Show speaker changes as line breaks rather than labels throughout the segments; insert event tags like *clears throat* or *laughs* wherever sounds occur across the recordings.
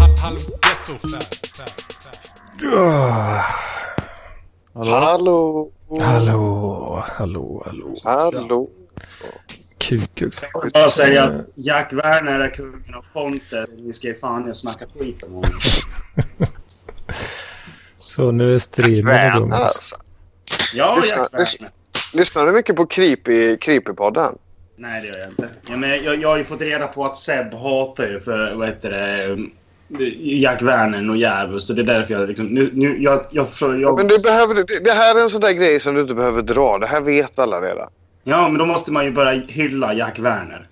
halvgetto.
Ah,
Hallå!
Hallå, hallå, hallå.
Hallå!
Kukuks.
Jag vill bara säga
Eh.
att Jack Werner är kungen av Ponte. Ni ska ju fan jag snacka skit om
*laughs*
honom.
Så nu är streamen igång. också.
Vänner, alltså.
Ja,
Lyssna,
Jack
lyssna.
Werner.
Lyssnar du mycket på creepy, Creepypodden?
Nej, det gör jag inte. Ja, men jag, jag har ju fått reda på att Seb hatar ju för, vad heter det, um, Jack Werner och Djävulskt. Och det är därför jag liksom, nu, nu jag, jag, jag, jag
Men du behöver, det det här är en sån där grej som du inte behöver dra. Det här vet alla redan.
Ja, men då måste man ju börja hylla Jack Werner.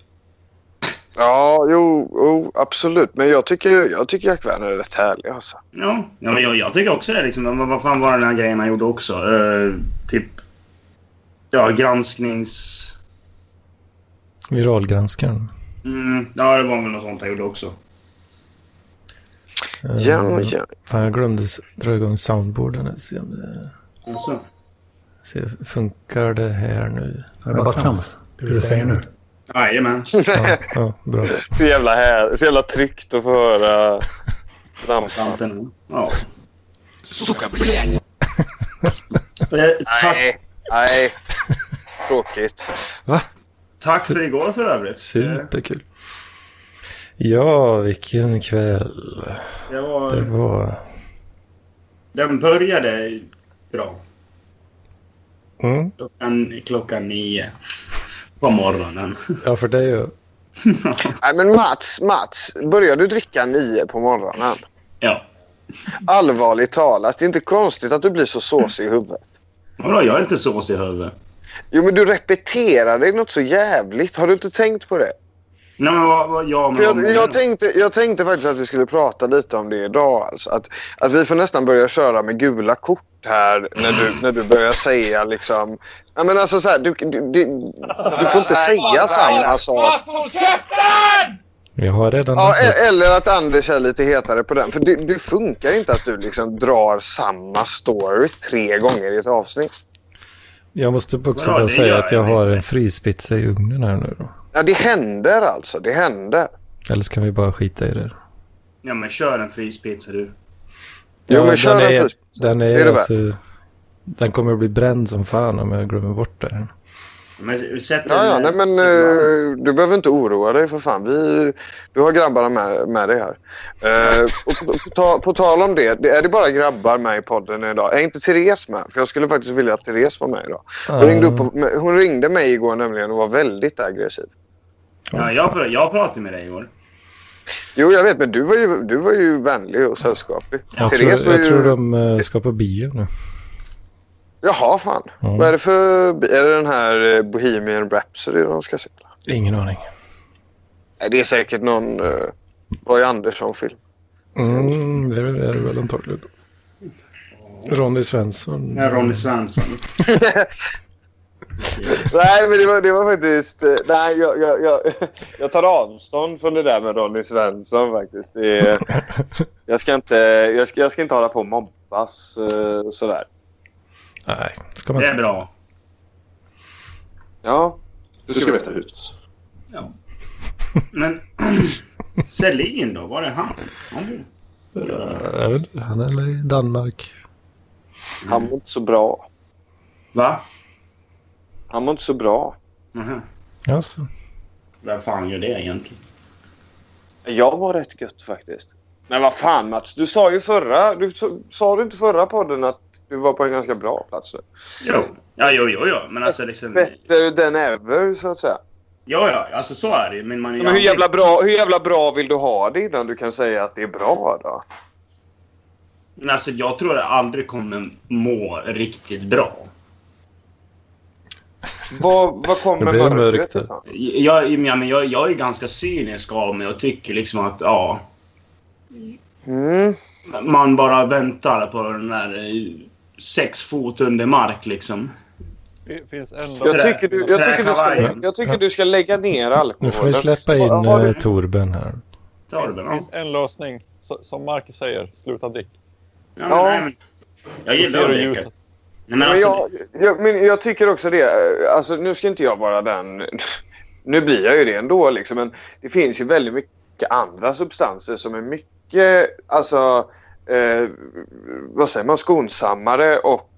Ja, jo, jo absolut. Men jag tycker, jag tycker Jack Werner är rätt härlig. Alltså.
Ja, ja men jag, jag tycker också det liksom. Men Vad, vad fan var den här grejen han gjorde också? Eh, typ, ja, gransknings...
Viralgranskaren.
Mm, ja, det var väl något sånt han gjorde också.
Eh,
Ja, ja.
Fan, jag glömde s- dra igång soundboarden. här, Se om det
Alltså.
se, funkar det här nu.
Det är bara trams. Det du säger nu.
Jajamän.
Ja, ja bra.
Så jävla, här, så jävla tryggt att få höra.
Tanten. Ja.
Suka blät!
Eh, Tack,
Nej, nej. Tråkigt.
tack för igår för övrigt. Eh,
Superkul. Ja, vilken kväll.
Det var,
Det var...
den började bra.
Mm.
Klockan, klockan nio på morgonen.
Ja, för dig ja.
Nej, men Mats, Mats. Börjar du dricka nio på morgonen?
Ja.
Allvarligt talat, det är inte konstigt att du blir så såsig i huvudet.
Vadå, jag är inte sås i huvudet.
Jo, men du repeterar dig något så jävligt. Har du inte tänkt på det?
Nej, men vad, vad, ja, men
För
vad
jag,
menar
jag,
du?
tänkte, jag tänkte faktiskt att vi skulle prata lite om det idag. Alltså. Att, att vi får nästan börja köra med gula kort här när du, när du börjar säga liksom... Ja, men alltså så här, du, du, du, du får inte säga samma sak.
Jag har redan...
Ja,
ett-
e- eller att Anders är lite hetare på den. För det, det funkar inte att du liksom drar samma story tre gånger i ett avsnitt.
Jag måste också
Bra,
bara
det
säga
gör
att jag
jag.
har en fryspizza i ugnen här nu då.
Ja, det händer alltså. Det händer.
Eller så kan vi bara skita i det.
Ja, men kör en fryspizza du.
Jo, men
den
kör en
är,
fryspizza.
Den
Det
är,
är det
alltså... Den kommer att bli bränd som fan om jag glömmer bort det.
Men sätt
Ja, ja,
en-
nej, men
sätt en-
eh, du behöver inte oroa dig för fan. Vi, du har grabbarna med, med dig här. Eh, och på, på, ta- på tal om det, det, är det bara grabbar med i podden idag? Är inte Therese med? För jag skulle faktiskt vilja att Therese var med idag. Hon, ringde, upp och, men hon ringde mig igår nämligen och var väldigt aggressiv.
ja, jag, pr- jag pratade med dig igår.
Jo, jag vet, men du var ju, du var ju vänlig och sällskaplig.
Jag, tror,
Therese var
jag
ju...
tror de eh, ska på bio nu.
Jaha, fan.
Ja.
Vad är det för... Är det den här eh, Bohemian Rhapsody de ska se?
Ingen aning.
Nej, det är säkert någon eh, Roy Andersson-film.
Mm, det är det är väl antagligen. Ronny Svensson.
Med Ronny Svensson.
Nej, men det var, det var faktiskt... eh, Nej, jag, jag, jag, *laughs* jag tar avstånd från det där med Ronny Svensson faktiskt. Det är, *laughs* jag, ska inte, jag, ska, jag ska inte hålla på och mobbas eh, sådär.
Nej, ska man
Det är
inte.
bra.
Ja.
Du ska veta ut.
Ja. Men *clears throat* Selin då? Var är han? han?
Jag vet inte, Han är i Danmark.
Han mår inte så bra.
Va?
Han mår inte så bra.
Nähä.
Jaså.
Vem fan gör det egentligen?
Jag var rätt gött faktiskt. Men vad fan Mats, du sa ju förra... Du, sa- sa du inte förra podden att du var på en ganska bra plats nu?
Jo. Ja, jo, jo, jo. Men alltså liksom...
Better than ever, så att säga.
Ja, ja. Alltså så är det ju, Men man är ju
Men hur
aldrig-
jävla, bra, hur jävla bra vill du ha det innan du kan säga att det är bra då?
Men Alltså jag tror jag aldrig kommer må riktigt bra.
Vad, vad
Det
kommer
blir
mörkret
mörkt där.
ifrån?
Jag, jag, men jag, jag är ganska cynisk av mig och tycker liksom att ja...
Mm.
Man bara väntar på den där eh, sex fot under mark liksom.
Det finns en
Jag, tycker du, jag, tycker du ska,
Träkavajen.
jag tycker du ska lägga ner alkoholen.
Nu får vi släppa
Har-
in
har du-
eh, Torben här.
Tar du den?
Det
Ja.
finns en lösning. Så, som Marcus säger, sluta drick.
Ja,
Ja.
Nej, men, jag gillar
Ser
att
du
dricka.
ljuset?
Nej, men
Men
alltså,
jag, jag, men jag tycker också det. Alltså, nu ska inte jag vara den... *laughs* Nu blir jag ju det ändå, liksom, men det finns ju väldigt mycket andra substanser som är mycket mycket alltså, eh, vad säger man, skonsammare och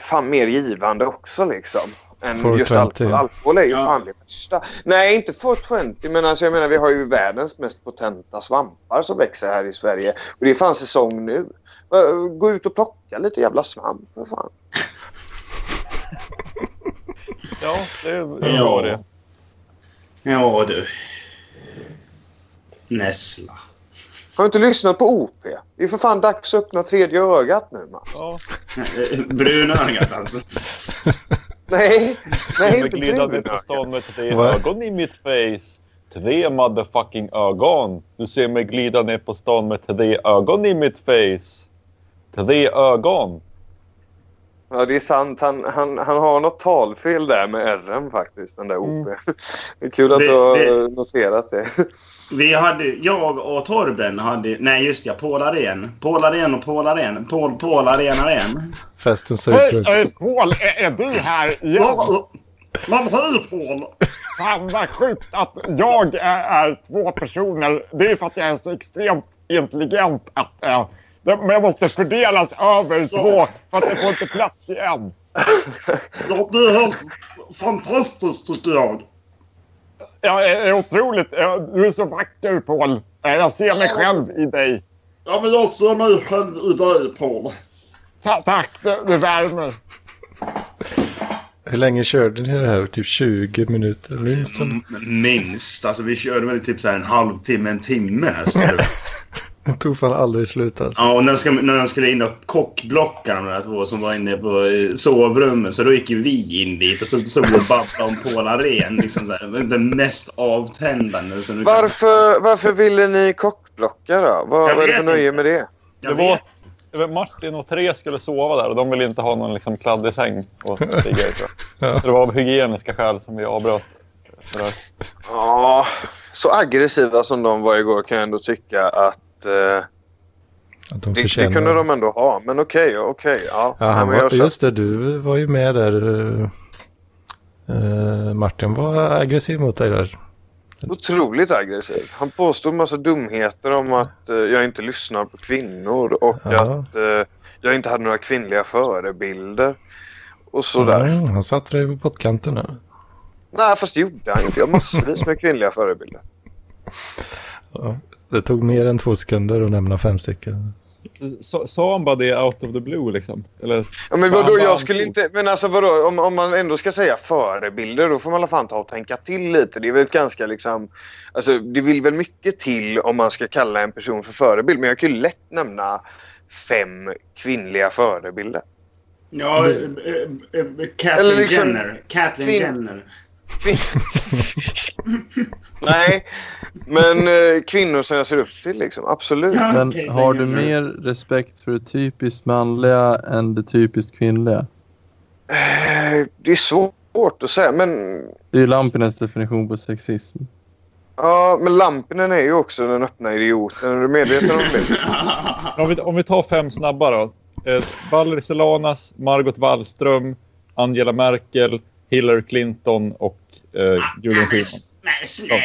fan mer givande också liksom. Än just
420.
alkohol. Alkohol är ju
Ja.
fan det värsta. Nej, inte 420 men alltså jag menar vi har ju världens mest potenta svampar som växer här i Sverige. Och det är fan säsong nu. Eh, Gå ut och plocka lite jävla svamp för fan.
Ja, det är bra det.
Ja, du. Nässla.
Har du inte lyssnat på OP? Det är för fan dags att öppna tredje ögat nu man.
Ja,
Eh, Brunögat alltså. *laughs*
Nej, nej
jag
inte brun
glidade på
ögat.
stan med tre
Va?
ögon i mitt face. Tre motherfucking ögon. Du ser mig glida ner på stan med tre ögon i mitt face. Tre ögon.
Ja, det är sant. Han, han, han har något talfel där med RM faktiskt, den där OP. *laughs* Det är kul att
Mm. Det-
du har
det-
eh, noterat det. *laughs*
Vi hade, jag och Torben hade, nej just ja, Paul Arén. Paul Arén och Paul Arén. Paul, Paul Arén Arén.
Festen ser ut.
Paul, är, du här
Vad säger Paul?
Fan vad sjukt att jag är, är två personer. Det är för att jag är så extremt intelligent att eh, det- men jag måste fördelas över två för att det får inte plats i en.
Ja, det är helt fantastiskt tycker jag.
Jag är, är otroligt. eh, Du är så vacker Paul. Eh, Jag ser mig själv i dig.
Ja, men jag ser mig själv i dig Paul.
Ta, tack, du, du värmer.
Hur länge körde ni det här? Typ 20 minuter minst?
Mm.
eller?
Minst. Alltså vi körde väl typ så här en halvtimme, en timme nästan.
Det tog fan aldrig slut alltså.
Ja, och när de skulle, när de skulle in och kockblocka de där två som var inne på eh, sovrummet så då gick ju vi in dit och så så vi och babblade om Paul Arén. Liksom så här, den mest avtändande som du kan-
Varför, varför ville ni kockblocka då? Vad,
Jag
vad är det
vet
för nöje med det?
Jag vet.
Martin och tre skulle sova där och de ville inte ha någon liksom kladdig säng att ligga i.
Ja.
Det var av hygieniska skäl som vi avbröt.
Ja, så aggressiva som de var igår kan jag ändå tycka att eh,
Att de
det,
förtjänar
det kunde de ändå ha. Men okej, okej. ja.
Ja, han
Nej, men
var,
jag
just det, du var ju med där. eh, eh, Martin var aggressiv mot dig där.
känner- otroligt aggressiv. Han påstod massa dumheter om att eh, jag inte lyssnar på kvinnor och
Ja.
att eh, jag inte hade några kvinnliga förebilder. Och sådär.
Mm, han satte dig på pottkanten nu.
Nej, fast det gjorde han inte. Jag har massvis med kvinnliga förebilder.
Det tog mer än två sekunder att nämna fem stycken.
Sa han bara det out of the blue liksom? Eller?
Ja, men
Fan,
vadå,
vad
jag
han
skulle
tog.
inte... Men alltså vadå, om, om man ändå ska säga förebilder då får man i alla fan ta och tänka till lite. Det är väl ett ganska liksom... Alltså det vill väl mycket till om man ska kalla en person för förebild. Men jag kan ju lätt nämna fem kvinnliga
*laughs*
förebilder.
Ja, eh, eh, eh,
Eller
Caitlyn
liksom-
Jenner. Caitlyn
Fin-
Jenner.
Kvin- Nej, men eh, kvinnor som jag ser upp till liksom. Absolut.
Ja,
Men
Caitlyn
har du
Jenner. *laughs*
mer respekt för det typiskt manliga än det typiskt kvinnliga?
Eh, det är svårt att säga, men
Det är ju Lampinens definition på sexism.
Ja, men Lampinen är ju också den öppna idioten. Är du medveten om
*laughs*
det?
Om vi, om vi tar fem snabba då. Eh, Valerie Solanas, Margot Wallström, Angela Merkel, Hillary Clinton och eh, Julian
Men,
Schyman.
s- men snälla!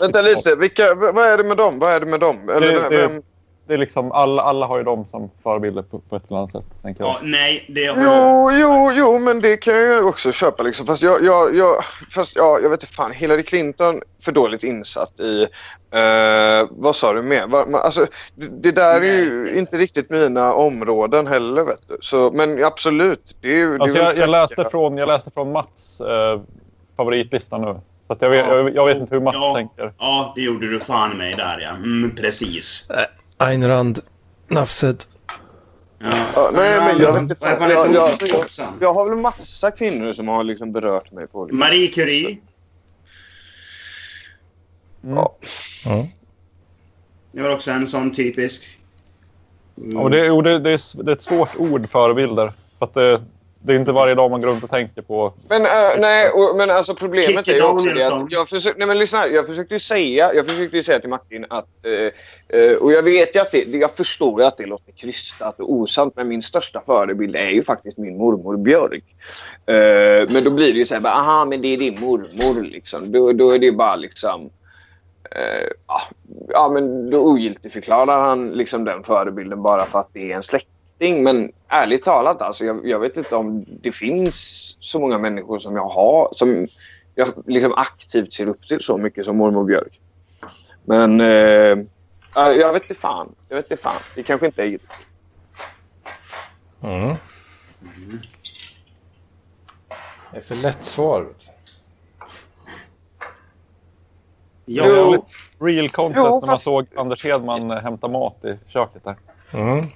Vänta lite, vilka, v- vad är det med dem? Vad är det med dem? Eller
Det- det-
vem?
Det är liksom, alla, alla har ju dem som förebilder på, på ett eller annat sätt. Tänker jag.
Ja, nej, det har
Jo,
jag.
jo, jo, men det kan jag ju också köpa liksom. Fast jag, jag, jag, fast, ja, jag vet inte fan. Hillary Clinton, för dåligt insatt i... eh, vad sa du mer? Va, man, alltså, det, det där är ju inte riktigt mina områden heller, vet du. Så, men absolut, det är ju... Det är
Alltså,
väl
jag, jag,
fräcka.
läste från, jag läste från Mats eh, favoritlista nu. Så att jag, vet, jag, jag vet inte hur Mats
Ja.
tänker.
Ja, det gjorde du fan mig där ja. Mm, precis.
Ayn Rand, Nafset.
Ja.
Ja, nej, men jag vet inte
Vad
fan.
fan
Jag, jag,
heter hon?
jag,
Hoppsan.
jag har väl massa kvinnor som har liksom berört mig på olika
Marie Curie.
Ja.
Det var också en sån typisk. Mm.
Och det, jo, det, det, är, s- det är ett svårt ord, förebilder. För att det, det är inte varje dag man går runt och tänker på.
Men, eh, nej, och, men alltså problemet
Kikki
är ju också det
Danielsson.
att jag, försö- nej, men lyssna, här, jag försökte ju säga, jag försökte ju säga till Martin att... eh, eh, och jag vet ju att det, jag förstår ju att det låter krystat och osant men min största förebild är ju faktiskt min mormor Björk. Eh, men då blir det ju så här, bara, aha men det är din mormor liksom. Då, då är det ju bara liksom... Eh, ja, ja, men då ogiltigförklarar han liksom den förebilden bara för att det är en släkting. Men ärligt talat, alltså, jag, jag vet inte om det finns så många människor som jag har som jag liksom aktivt ser upp till så mycket som mormor Björk. Men eh, ja, jag vet inte fan. Jag vet inte fan. Det kanske inte är giltigt.
Mm. Det är för lätt svar. vet du.
Ja,
Jo.
Real content
Jo,
när man
fast-
såg Anders Hedman eh, hämta mat i köket där.
Mm.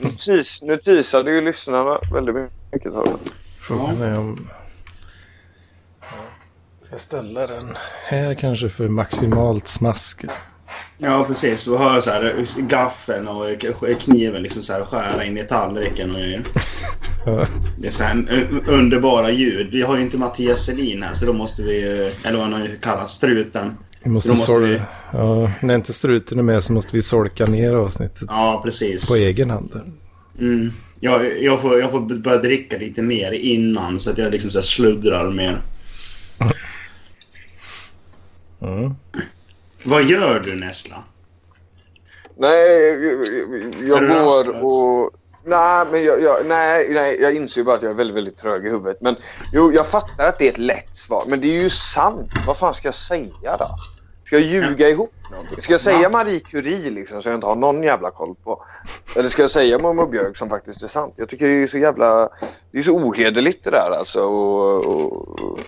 Nu, tis, nu teasade ju lyssnarna väldigt mycket. tror jag.
Frågan är om... Ska jag ställa den här kanske för maximalt smask?
ja, precis. Du hör så här, gaffeln och k- kniven liksom så här, skära in i tallriken.
*laughs*
Och,
Ja.
det är så här un- underbara ljud. Vi har ju inte Mattias Selin här, så då måste vi... eh, Eller vad han nu kallas, struten.
Vi måste,
Då måste
sol-
vi-
Ja, när inte struten är med så måste vi solka ner avsnittet
Ja, precis.
på e- egen hand.
Mm. Jag, jag, får, jag får börja dricka lite mer innan så att jag liksom så här sluddrar mer.
Mm.
Vad gör du Nessla?
Nej, jag, jag-
Är
jag
du
går
rastlös?
och... Nej, men jag, jag, nej, nej, jag inser ju bara att jag är väldigt, väldigt trög i huvudet. Men jo, jag fattar att det är ett lätt svar. Men det är ju sant. Vad fan ska jag säga då? Ska jag ljuga ihop någonting? Ska jag säga Marie Curie liksom så jag inte har någon jävla koll på? Eller ska jag säga mormor Björk som faktiskt är sant? Jag tycker det är så jävla... Det är så ohederligt det där alltså. Och, och,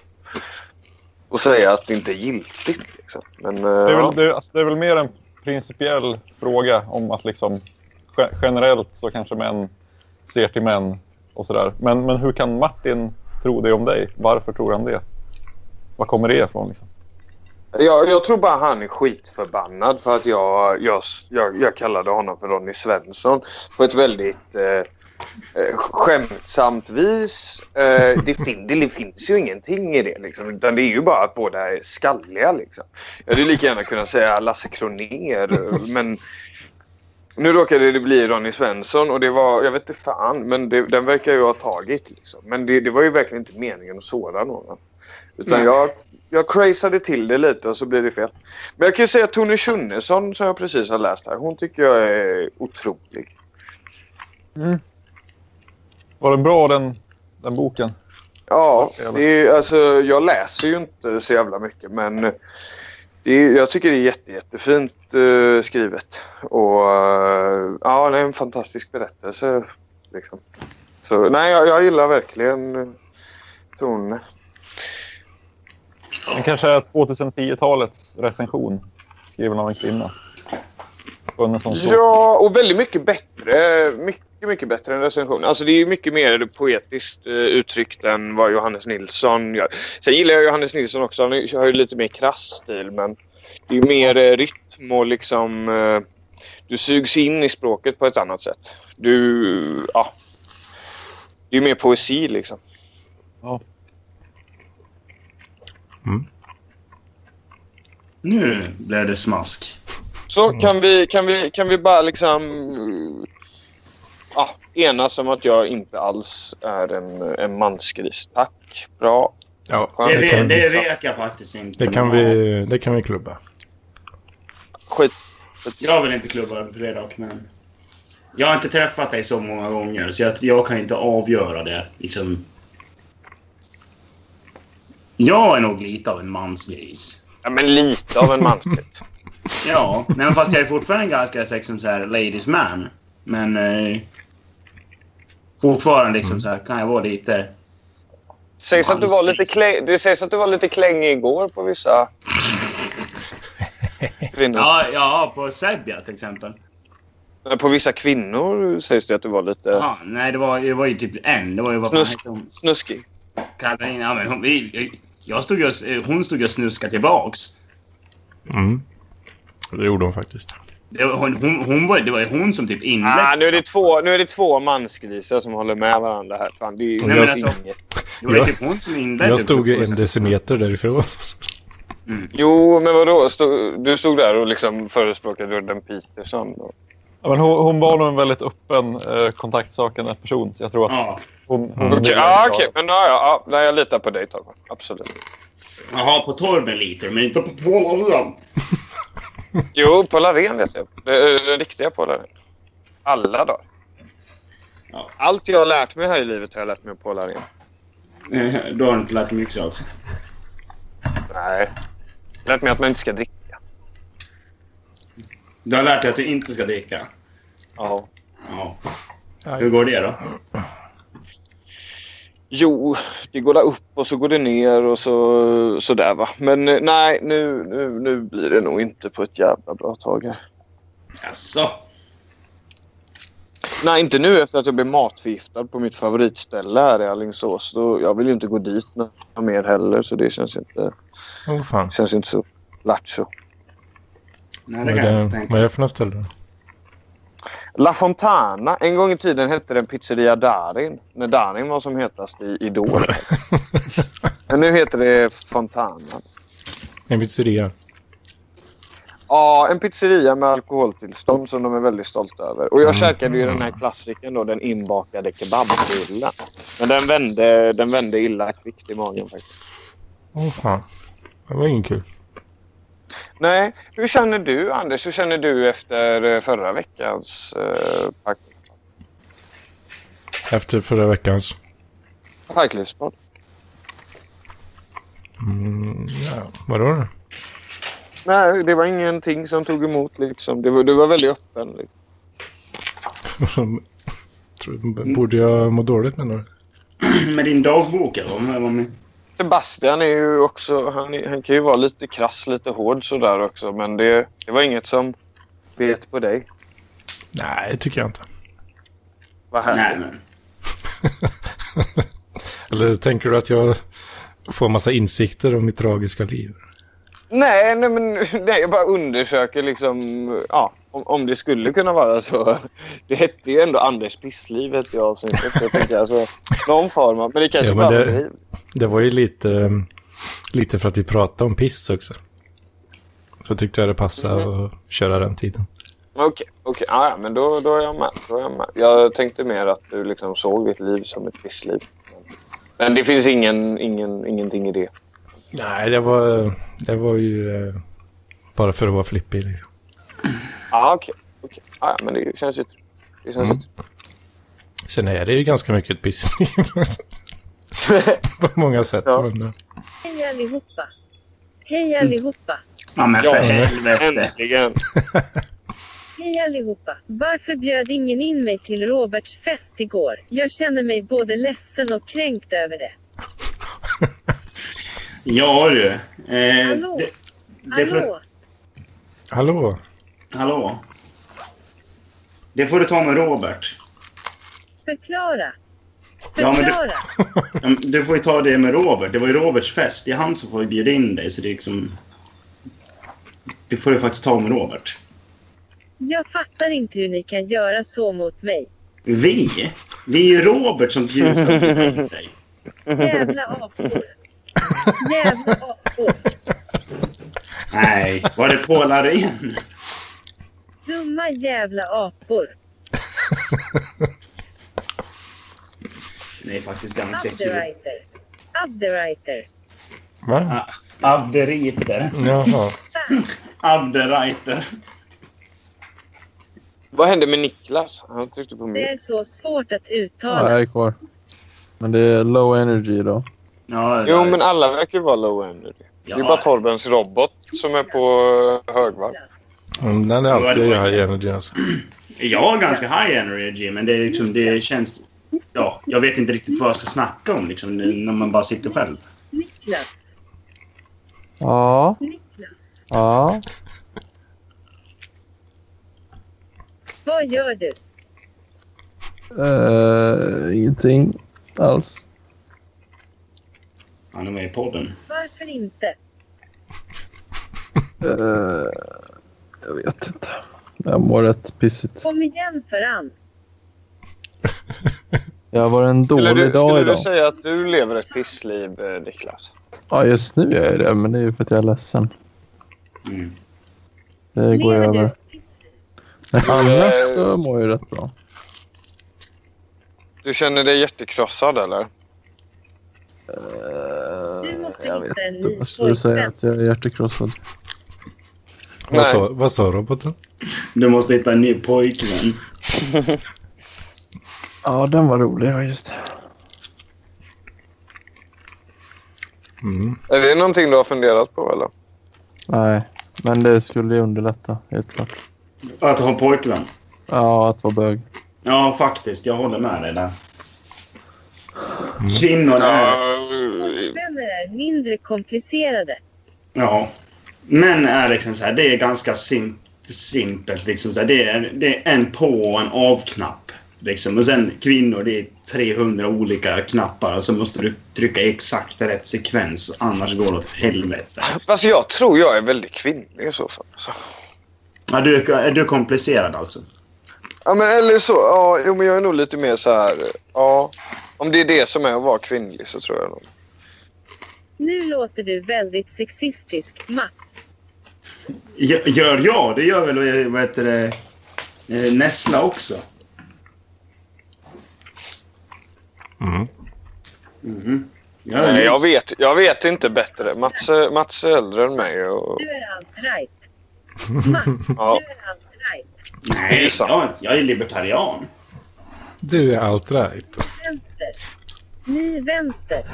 och säga att det inte är giltigt liksom. Men,
Det är,
ja.
väl, det, alltså, det är väl mer en principiell fråga om att liksom ge- generellt så kanske män ser till män och sådär. Men, men hur kan Martin tro det om dig? Varför tror han det? Var kommer det ifrån? Liksom?
Jag, jag tror bara han är skitförbannad för att jag, jag, jag, jag kallade honom för Ronny Svensson på ett väldigt eh, eh, skämtsamt vis. Eh, det, fin, det finns ju ingenting i det. Liksom, utan det är ju bara att båda är skalliga. Liksom. Jag hade lika gärna kunnat säga Lasse Kronér eh, men nu råkade det bli Ronny Svensson och det var, jag vet inte fan, men det, den verkar jag ha tagit. Liksom. Men det, det var ju verkligen inte meningen att såra någon. Utan jag jag crazade till det lite och så blir det fel. Men jag kan ju säga att Tony Schunnesson som jag precis har läst här, hon tycker jag är otrolig.
Var den bra den, den boken?
Ja, det är, alltså, jag läser ju inte så jävla mycket men det är, jag tycker det är jätte, jättefint eh, skrivet. Och eh, ja, det är en fantastisk berättelse. Liksom. Så nej, jag, jag gillar verkligen eh, Tone.
Den kanske är 2010-talets recension skriven av en kvinna. Funnen som så.
Ja, och väldigt mycket bättre. Mycket, mycket bättre än recension. Alltså det är ju mycket mer poetiskt eh, uttryckt än vad Johannes Nilsson gör. Sen gillar jag Johannes Nilsson också. Han har ju lite mer krass stil men det är ju mer eh, rytm och liksom eh, du sugs in i språket på ett annat sätt. Du, ja. Det är ju mer poesi liksom.
Nu blev det smask.
Så kan vi, kan vi, kan vi bara liksom eh, ja, enas om att jag inte alls är en, en mansgris. Tack. Bra.
Ja,
Det,
Det
det,
kan-
det vet jag faktiskt inte.
det kan vi, det kan vi klubba.
Skit.
Jag vill inte klubba över Fredrik, men... Jag har inte träffat dig så många gånger, så jag, jag kan inte avgöra det. Liksom. Jag är nog lite av en mansgris.
Ja, men lite av en mansgris.
Ja, nej, men fast jag är fortfarande ganska liksom, så här, ladies man. Men eh, fortfarande
Mm.
liksom, så här, kan jag vara lite...
Sägs att du var lite kläng, det sägs att du var lite klängig igår på vissa kvinnor.
Ja, ja på Serbia till exempel.
På vissa kvinnor sägs det att du var lite
Ja, nej, det var, det var ju typ en. Det var ju vad fan
Snusk.
hette hon?
snuskig.
Katarina. Ja, men hon, vi, jag stod ju, och- eh, hon stod ju och snuskade tillbaks.
Mm. Det gjorde hon faktiskt.
Det var, hon, hon, hon var, det var ju hon som typ inledde.
Ah, nu, är det två, nu är det två mansgrisar som håller med varandra här. Fan, det är ju
men
det är
alltså-
inget.
det var ju
jag-
typ hon som inledde.
Jag stod ju en decimeter därifrån.
Jo, men vadå? Stod, du stod där och liksom förespråkade Udden Peterson. Och...
Ja, men hon, hon var nog en väldigt öppen, eh, kontaktsökande person. Så jag tror att
Ja,
hon... hon
ah, Okej, ja, okej. men ja, ja, ja, nej, jag litar på dig Torben. Absolut.
Jaha, på Torbenliter, men inte på Polaren.
Jo, Paul Arén vet jag. Det är Den riktiga Paul Arén. Alla dagar.
Ja.
Allt jag har lärt mig här i livet har jag lärt mig av Paul Arén.
Eh, Då har du inte lärt dig mycket alltså. också.
Nej. Lärt mig att man inte ska dricka.
Du har lärt dig att du inte ska dricka.
Ja.
Ja. Hur går det då?
Jo, det går där upp och så går det ner och så, så där va. Men eh, nej, nu, nu, nu blir det nog inte på ett jävla bra tag här.
Jaså?
Nej, inte nu efter att jag blev matförgiftad på mitt favoritställe här i Alingsås. Då, jag vill ju inte gå dit någon mer heller så det känns inte,
*laughs* Åh fan.
känns inte så lattjo.
Nej, det
Vad
kan jag
är
inte
det,
tänka.
eh, vad är det för något *laughs* ställe? då?
La Fontana. En gång i tiden hette den Pizzeria Darin. När Darin var som hetast i Idol. Men nu heter det Fontana.
En pizzeria.
Ja, en pizzeria med alkoholtillstånd som de är väldigt stolta över. Och jag käkade ju den här klassikern då, den inbakade kebabbullen. Men den vände, den vände illa kvickt i magen faktiskt.
Åh fan. Det var ingen kul.
Nej, hur känner du Anders? Hur känner du efter eh, förra veckans eh, park-
Efter förra veckans.
parklivspodd?
Mm, ja, vadå då? *laughs*
Nej, det var ingenting som tog emot liksom. Du var, det var väldigt öppen. Liksom.
Tror- Borde jag må dåligt med något?
Med din dagbok eller? Vad- vad men-
Sebastian är ju också, han, är- han kan ju vara lite krass, lite hård sådär också. Men det, det var inget som bet på dig.
Nej, det tycker jag inte.
Vad härligt.
Nej, men.
Eller tänker du att jag får massa insikter om mitt tragiska liv?
Nej, nej, men, *laughs* nej, jag bara undersöker liksom, ja, om, om det skulle kunna vara så. *laughs* Det hette ju ändå Anders Pissliv hette jag avsnittet. Så jag tänker alltså, någon form av, men det kanske
Ja, men
bara
det-
var driv.
Det var ju lite, eh, lite för att vi pratade om piss också. Så tyckte jag det passade att köra den tiden.
Men Okej, okej, Ah, ja, ja, men då, då, är jag med, då är jag med. Jag tänkte mer att du liksom såg ditt liv som ett pissliv. Men, men det finns ingen, ingen, ingenting i det.
Nej, det var, det var ju eh, bara för att vara flippig. Liksom.
Ja, Ah, okej. okej. Ja, men det känns ju... Det känns
Mm.
ju
Sen är det ju ganska mycket ett pissliv. *laughs* På många sätt.
Ja.
Men, eh,
Hej allihopa! Hej allihopa!
Ja, men *laughs* för
Ja, men-
helvete.
äntligen.
Hej allihopa! Varför bjöd ingen in mig till Roberts fest igår? Jag känner mig både ledsen och kränkt över det.
Ja, du. Eh,
Hallå?
det- det är för-
Hallå?
hallå?
Hallå? Det får du ta med Robert.
Förklara!
Ja, men det-
Förklara!
Ja, men Du får ju ta det med Robert. Det var ju Roberts fest. Det är han som får bjuda in dig, så det är liksom... Det får du faktiskt ta med Robert.
Jag fattar inte hur ni kan göra så mot mig.
Vi? Det är ju Robert som bjuder- ska bjuda in dig.
Jävla apor! Jävla apor!
Nej, var det Paul Arén?
Dumma jävla apor!
Det är faktiskt ganska kul.
Underwriter! Underwriter!
Va?
Ah, Abderiter.
Jaha.
Abderiter.
Vad hände med Niklas? Han tryckte på
Det
mig.
är så svårt att
Ja,
uttala.
jag är kvar. Men det är low energy då.
Ja,
Jo, men alla verkar ju vara low energy. Det är bara
ja,
Torbens robot som är på högvarv.
Mm, Den är alltid
Ja, det
jag energy alltså.
jag har ganska high energy, men det, är liksom, det känns... Ja, jag vet inte riktigt vad jag ska snacka om liksom, när man bara sitter själv.
Niklas!
Ja,
Niklas!
ja.
Vad gör du?
Eh, ingenting alls.
Han är med i podden.
Varför inte?
Eh, jag vet inte. Jag mår rätt pissigt.
Kom igen för an.
Jag var en
Skulle
dålig
du,
dag
skulle du
idag.
säga att du lever ett pissliv, eh, Niklas?
Ja, just nu är jag det, men det är ju för att jag är ledsen.
Mm.
Det går
Lever
över.
du?
Men annars så mår jag ju rätt bra.
Du känner dig hjärtekrossad, eller?
Du måste
Eh, jag
hitta en ny
Jag skulle säga
pojkvän.
att jag är hjärtekrossad.
Vad sa, vad sa roboten?
Du måste hitta en ny pojkvän.
Ja, den var rolig. Ja, just det.
Är det någonting du har funderat på eller?
Nej, men det skulle ju underlätta helt klart.
Att ha pojkvän.
Ja, att vara bög.
Ja, faktiskt. Jag håller med dig där. Kvinnor är...
Eh,
Pojkvänner är mindre komplicerade.
Ja. Män är liksom så här, det är ganska sim- simpelt. Liksom så här, det, är, det är en på och en av-knapp. Liksom. Och sen kvinnor, det är 300 olika knappar och så måste du trycka i exakt rätt sekvens annars går det åt helvete.
Fast jag tror jag är väldigt kvinnlig i så fall. alltså. Så.
Ja, du, är- är du komplicerad alltså?
Ja, men eller så. Ja, jo, men jag är nog lite mer så här. Ja, om det är det som är att vara kvinnlig så tror jag nog.
Nu låter du väldigt sexistisk, Mats.
Gö- Gör jag? Det gör väl eh, vad heter det, eh, Nessla också?
Mm.
Mhm. Ja,
Nej, jag,
minst.
vet, jag vet inte bättre. Mats, är- Mats är äldre än mig. Och...
Du är allt right.
*laughs*
Ja,
Du är allt right.
det är
Nej,
sant.
jag, jag är libertarian.
Du är allt right.
Vänster. Ni vänster.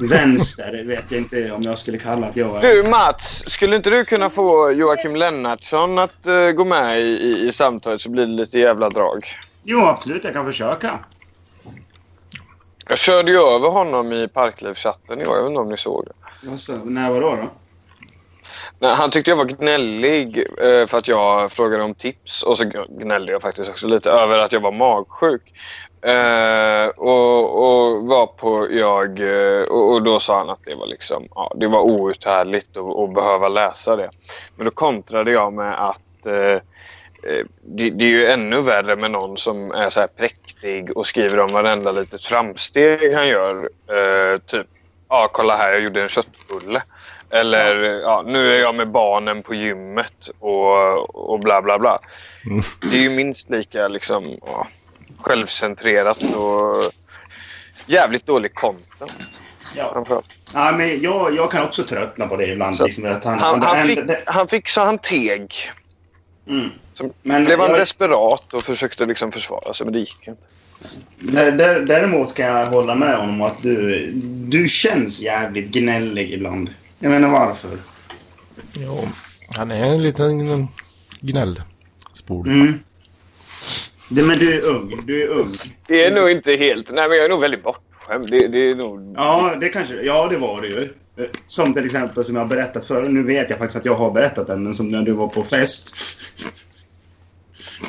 Vänster vet jag inte om jag skulle kalla att jag är.
Du Mats, skulle inte du kunna få Joakim Lennartsson att eh, gå med i, i, i samtalet så blir det lite jävla drag.
Jo, absolut, jag kan försöka.
Jag körde ju över honom i Parklivschatten i år. Jag vet inte om ni såg det.
Alltså, när var då? då?
Nej, han tyckte jag var gnällig eh, för att jag frågade om tips och så gnällde jag faktiskt också lite över att jag var magsjuk. Eh, och, och var på jag eh, och, och då sa han att det var liksom ja, det var outhärdligt att, att behöva läsa det. Men då kontrade jag med att eh, eh, det, det är ju ännu värre med någon som är så här präktig och skriver om varenda litet framsteg han gör. Eh, typ, ja kolla här jag gjorde en köttbulle. Eller eh, ja, nu är jag med barnen på gymmet och, och bla bla bla.
Mm.
Det är ju minst lika liksom, ja, självcentrerat och jävligt dålig content.
Ja.
framförallt.
Ja, men jag, jag kan också tröttna på det ibland.
Så att
Liksom, att han,
Han,
han-
han, fick,
det-
han fick så han teg.
Mm.
Som,
Men
blev han
jag-
desperat och försökte liksom försvara sig men det gick inte.
Dä- dä- Däremot kan jag hålla med om att du, du känns jävligt gnällig ibland. Jag menar varför?
Jo, han är en liten gn- gnällspol.
Mm. Det, men du är ung. Du är ung.
Det är nog inte helt... Nej men jag är nog väldigt bortskämd. Det, det är nog...
Ja, det kanske Ja, det var du ju. Eh, Som till exempel som jag har berättat förr. Nu vet jag faktiskt att jag har berättat den, men som när du var på fest.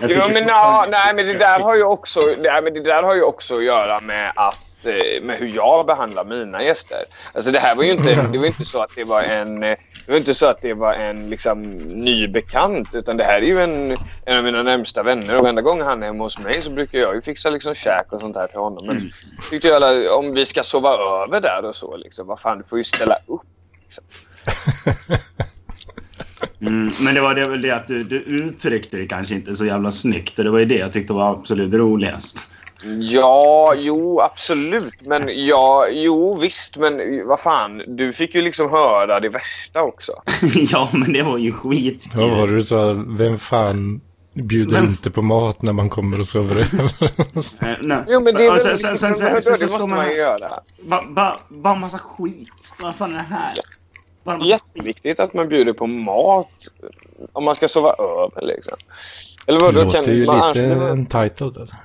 Jag
Jo,
tycker-
men, ja, nej, men det där har ju också, nej, men det där har ju också att göra med, att, eh, med hur jag behandlar mina gäster. Alltså, det här var ju inte,
Mm.
det var inte så att det var en, eh, det var inte så att det var en liksom, ny bekant utan det här är ju en, en av mina närmsta vänner och varenda gång han är hemma hos mig så brukar jag ju fixa liksom, käk och sånt där till honom.
Mm.
Men tyckte jag alla, om vi ska sova över där och så, liksom, vad fan du får ju ställa upp.
Mm, men det var det, väl det att du, du uttryckte det kanske inte så jävla snyggt. Och det var ju det jag tyckte var absolut roligast. *laughs*
Ja, jo, absolut. Men ja, jo, visst. Men vad fan, du fick ju liksom höra det värsta också.
ja, men det var ju skit.
Vad var det du sa? Vem fan bjuder
Vem-
inte på mat när man kommer och sover över?
Eh, nej.
Jo, men det är väl
Och
liksom-
sen, sen, sen, sen, sen,
det
så
måste
står man
man ju
här.
göra.
Bara ba, ba massa skit. Vad fan är det här? Bara massa skit.
Jätteviktigt att man bjuder på mat om man ska sova över liksom. Eller vad, då
låter
kan
ju
man,
lite
annars,
entitled. Alltså.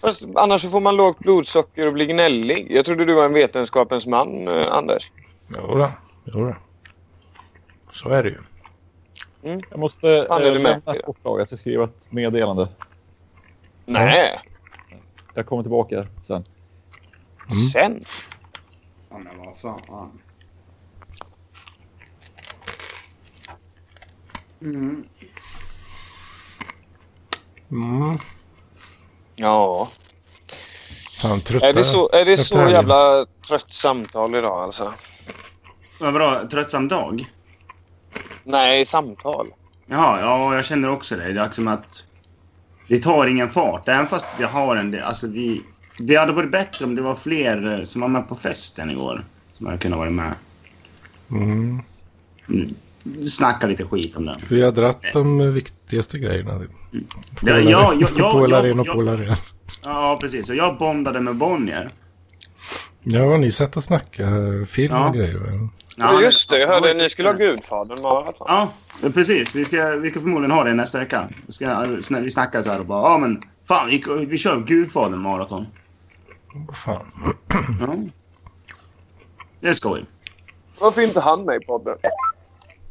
fast annars så får man lågt blodsocker och blir gnällig. Jag trodde du var en vetenskapens man, eh, Anders.
Jodå, jodå. Så är det ju.
Jag måste
Fan, är
eh,
du med?
lämna kortlag. Jag ska skriva ett meddelande.
Nej,
Jag kommer tillbaka sen.
Mm.
sen.
Ja, men vad fan. Mm.
Mm.
Ja.
Fan, trötta.
Är det så, är det
trötta
så
helgen.
jävla trött samtal idag alltså?
Vad bra. Tröttsam dag?
Nej, samtal.
Jaha, ja, jag känner också det. Det är liksom att det tar ingen fart. Även fast vi har en del... Alltså vi, Det hade varit bättre om det var fler eh, som var med på festen igår. Som hade kunnat vara med.
Mm.
Snacka lite skit om den.
Vi har dratt de viktigaste grejerna.
Ja, ja, ja, ja,
pålar
ja,
in och
ja.
pålar igen.
Ja, precis. Och jag bondade med Bonnier.
Ja, ni satt och snackade film
Ja.
och grejer. va?
Ja, just det, jag hörde ni skulle ha Gudfadern maraton.
Ja, precis. Vi ska, vi ska förmodligen ha det nästa vecka. Vi, ska, vi snackar så här och bara, ja men fan vi, vi kör Gudfadern maraton.
Vad fan.
Ja. Det är skoj.
Varför är inte han med i podden?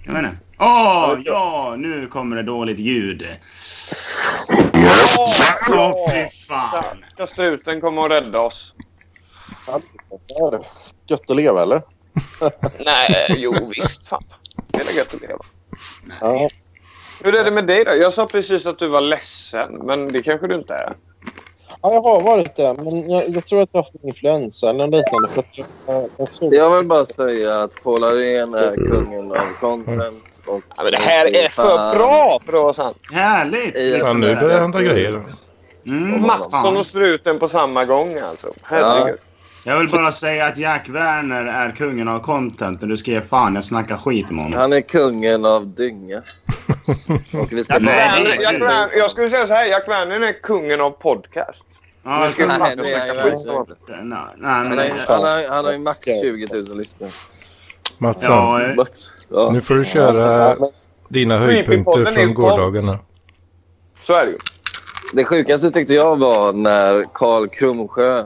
Jag menar. Åh, ja, nu kommer det dåligt ljud. Ja, fy fan.
Där struten kommer att rädda oss.
Gött att leva eller?
Nej, jo visst fan. Det är gött att leva.
Ja.
Hur är det med dig då? Jag sa precis att du var ledsen, men det kanske du inte är.
ja, jag har varit det. Men jag, jag tror att jag har haft en influensa eller något liknande. För att jag, jag såg...
Jag vill bara säga att Paul Arena är kungen av content. Och
men det här är för bra för att vara sant.
Härligt! liksom. Mm.
Ja, nu börjar han ta grejer.
Och Mattsson och struten på samma gång alltså. Herregud.
Jag vill bara säga att Jack Werner är kungen av content och du ska ge fan jag snackar skit om honom.
Han är kungen av
*laughs*
dynga. Och vi ska
Jack
Nej,
Werner-
Jack Werner, jag skulle säga så här, Jack Werner är kungen av podcast.
Ja,
Nu ska
nej,
Matte
det är
snacka
jag
skit om honom.
nej,
Han,
nej.
har- han, har- han har ju max 20 000 lyssnare.
Mattsson,
Ja, eh. Ja.
nu får du köra dina höjdpunkter
Creepypodden är ju
från gårdagen. här.
Så är det ju.
Det sjukaste tyckte jag var när Karl Krumsjö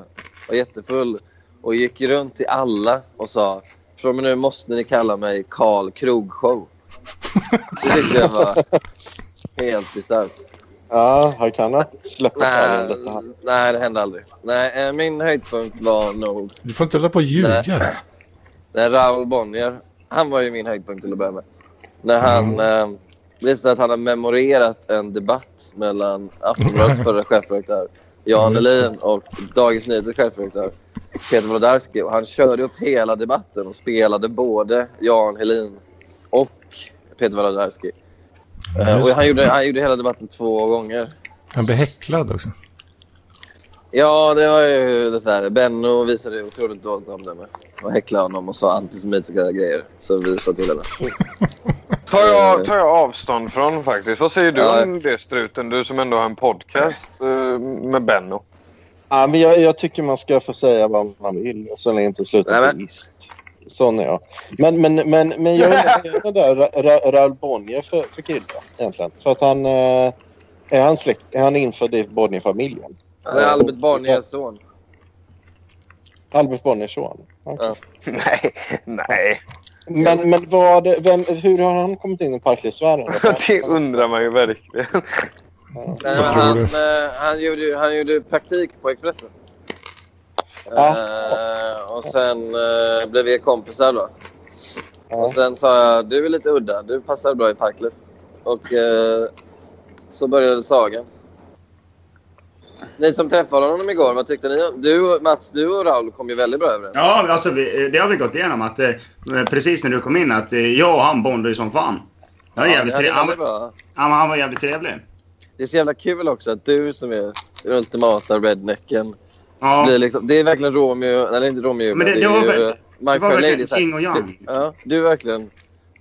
var jättefull och gick runt till alla och sa från och med nu måste ni kalla mig Karl Krogshow. Det tyckte jag var helt bisarrt.
Ja, han kan inte släppa
Nej,
salen lite här.
nej, det hände aldrig. Nej, eh, min höjdpunkt var nog
Du får inte hålla på och ljuga.
när Raoul Bonnier, han var ju min höjdpunkt till att börja med. När han eh, visade att han har memorerat en debatt mellan Aftonbladets förra chefredaktör Jan
Mm.
Ja, just det.
Elin och Dagens Nyheters chefredaktör Peter Wolodarski. Och Han körde upp hela debatten och spelade både Jan Helin och Peter Wolodarski.
Ja,
Eh,
just
och han
det.
gjorde, han gjorde hela debatten två gånger.
Han blir häcklad också.
Ja, det var ju det så här. Benno visade otroligt dåligt omdöme och häcklade honom och sa antisemitiska grejer. Så vi sa till henne.
Tar jag, tar jag avstånd från faktiskt. Vad säger du
Ja.
om det struten? Du som ändå har en podcast eh, med Benno.
Ja, men jag, jag tycker man ska få säga vad man vill så länge inte slutar ateist. Sån är jag. Men, men, men, men jag är den där Ra- Ra- Raoul Bonnier för, för killen egentligen. För att han... eh, Är han släkt? Är han infödd i Bonnier-familjen?
Han är Albert Bonniers son.
Albert Bonniers son?
Ja.
*laughs* Nej, nej.
Men, men vad, vem, hur har han kommit in i
*laughs*
parklivsvärlden?
*laughs* det undrar man ju verkligen.
Nej, men han, eh, han, gjorde, ju- han gjorde praktik på Expressen. Eh, och sen eh, blev vi kompisar då. Och sen sa jag, du är lite udda. Du passar bra i Parkliv. Och eh, så började sagan. Ni som träffade honom igår, vad tyckte ni? om- Du, Mats, du och Raul kom ju väldigt bra överens.
Ja, alltså, vi- det har vi gått igenom. Att, eh, precis när du kom in, att eh, jag och han bondade ju som fan. Det var
Ja,
jävligt
det
tre-
hade
han,
varit bra.
han, han var jävligt trevlig.
Det är så jävla kul också att du som är den ultimata rednecken.
Ja.
Blir liksom, det är verkligen Romeo, eller inte Romeo.
Men det- det var
är
väl-
ju,
det
eh, My
var
Fair
verkligen
Lady, så här.
yin och yang.
Du, ja, du är verkligen,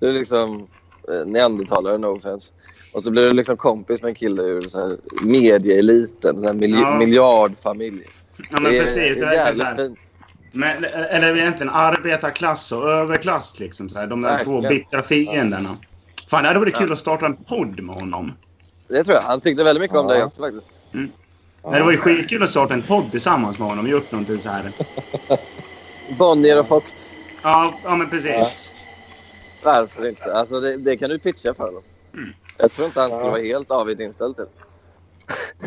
du är liksom eh, neandertalare, no offense. Och så blir du liksom kompis med en kille ur så här medieeliten, så här milj-
Ja.
miljardfamilj.
Ja, men
Det är-
precis.
det
Det
är
är verkligen
jävligt
så här. Men, eh, eller egentligen arbetarklass och överklass. Liksom, så här. De där
Verkligen.
två bittra fienderna. Fan, det hade varit kul
Ja.
att starta en podd med honom.
Det tror jag. Han tyckte väldigt mycket om dig också faktiskt.
Nej, det var ju skitkul att starta en podd tillsammans med honom och gjort någonting så här.
Bonnier och Focht.
Ja, ja men precis.
Varför inte? Alltså, det, det kan du pitcha för honom.
Mm.
Jag tror inte han skulle vara helt avigt inställd till det.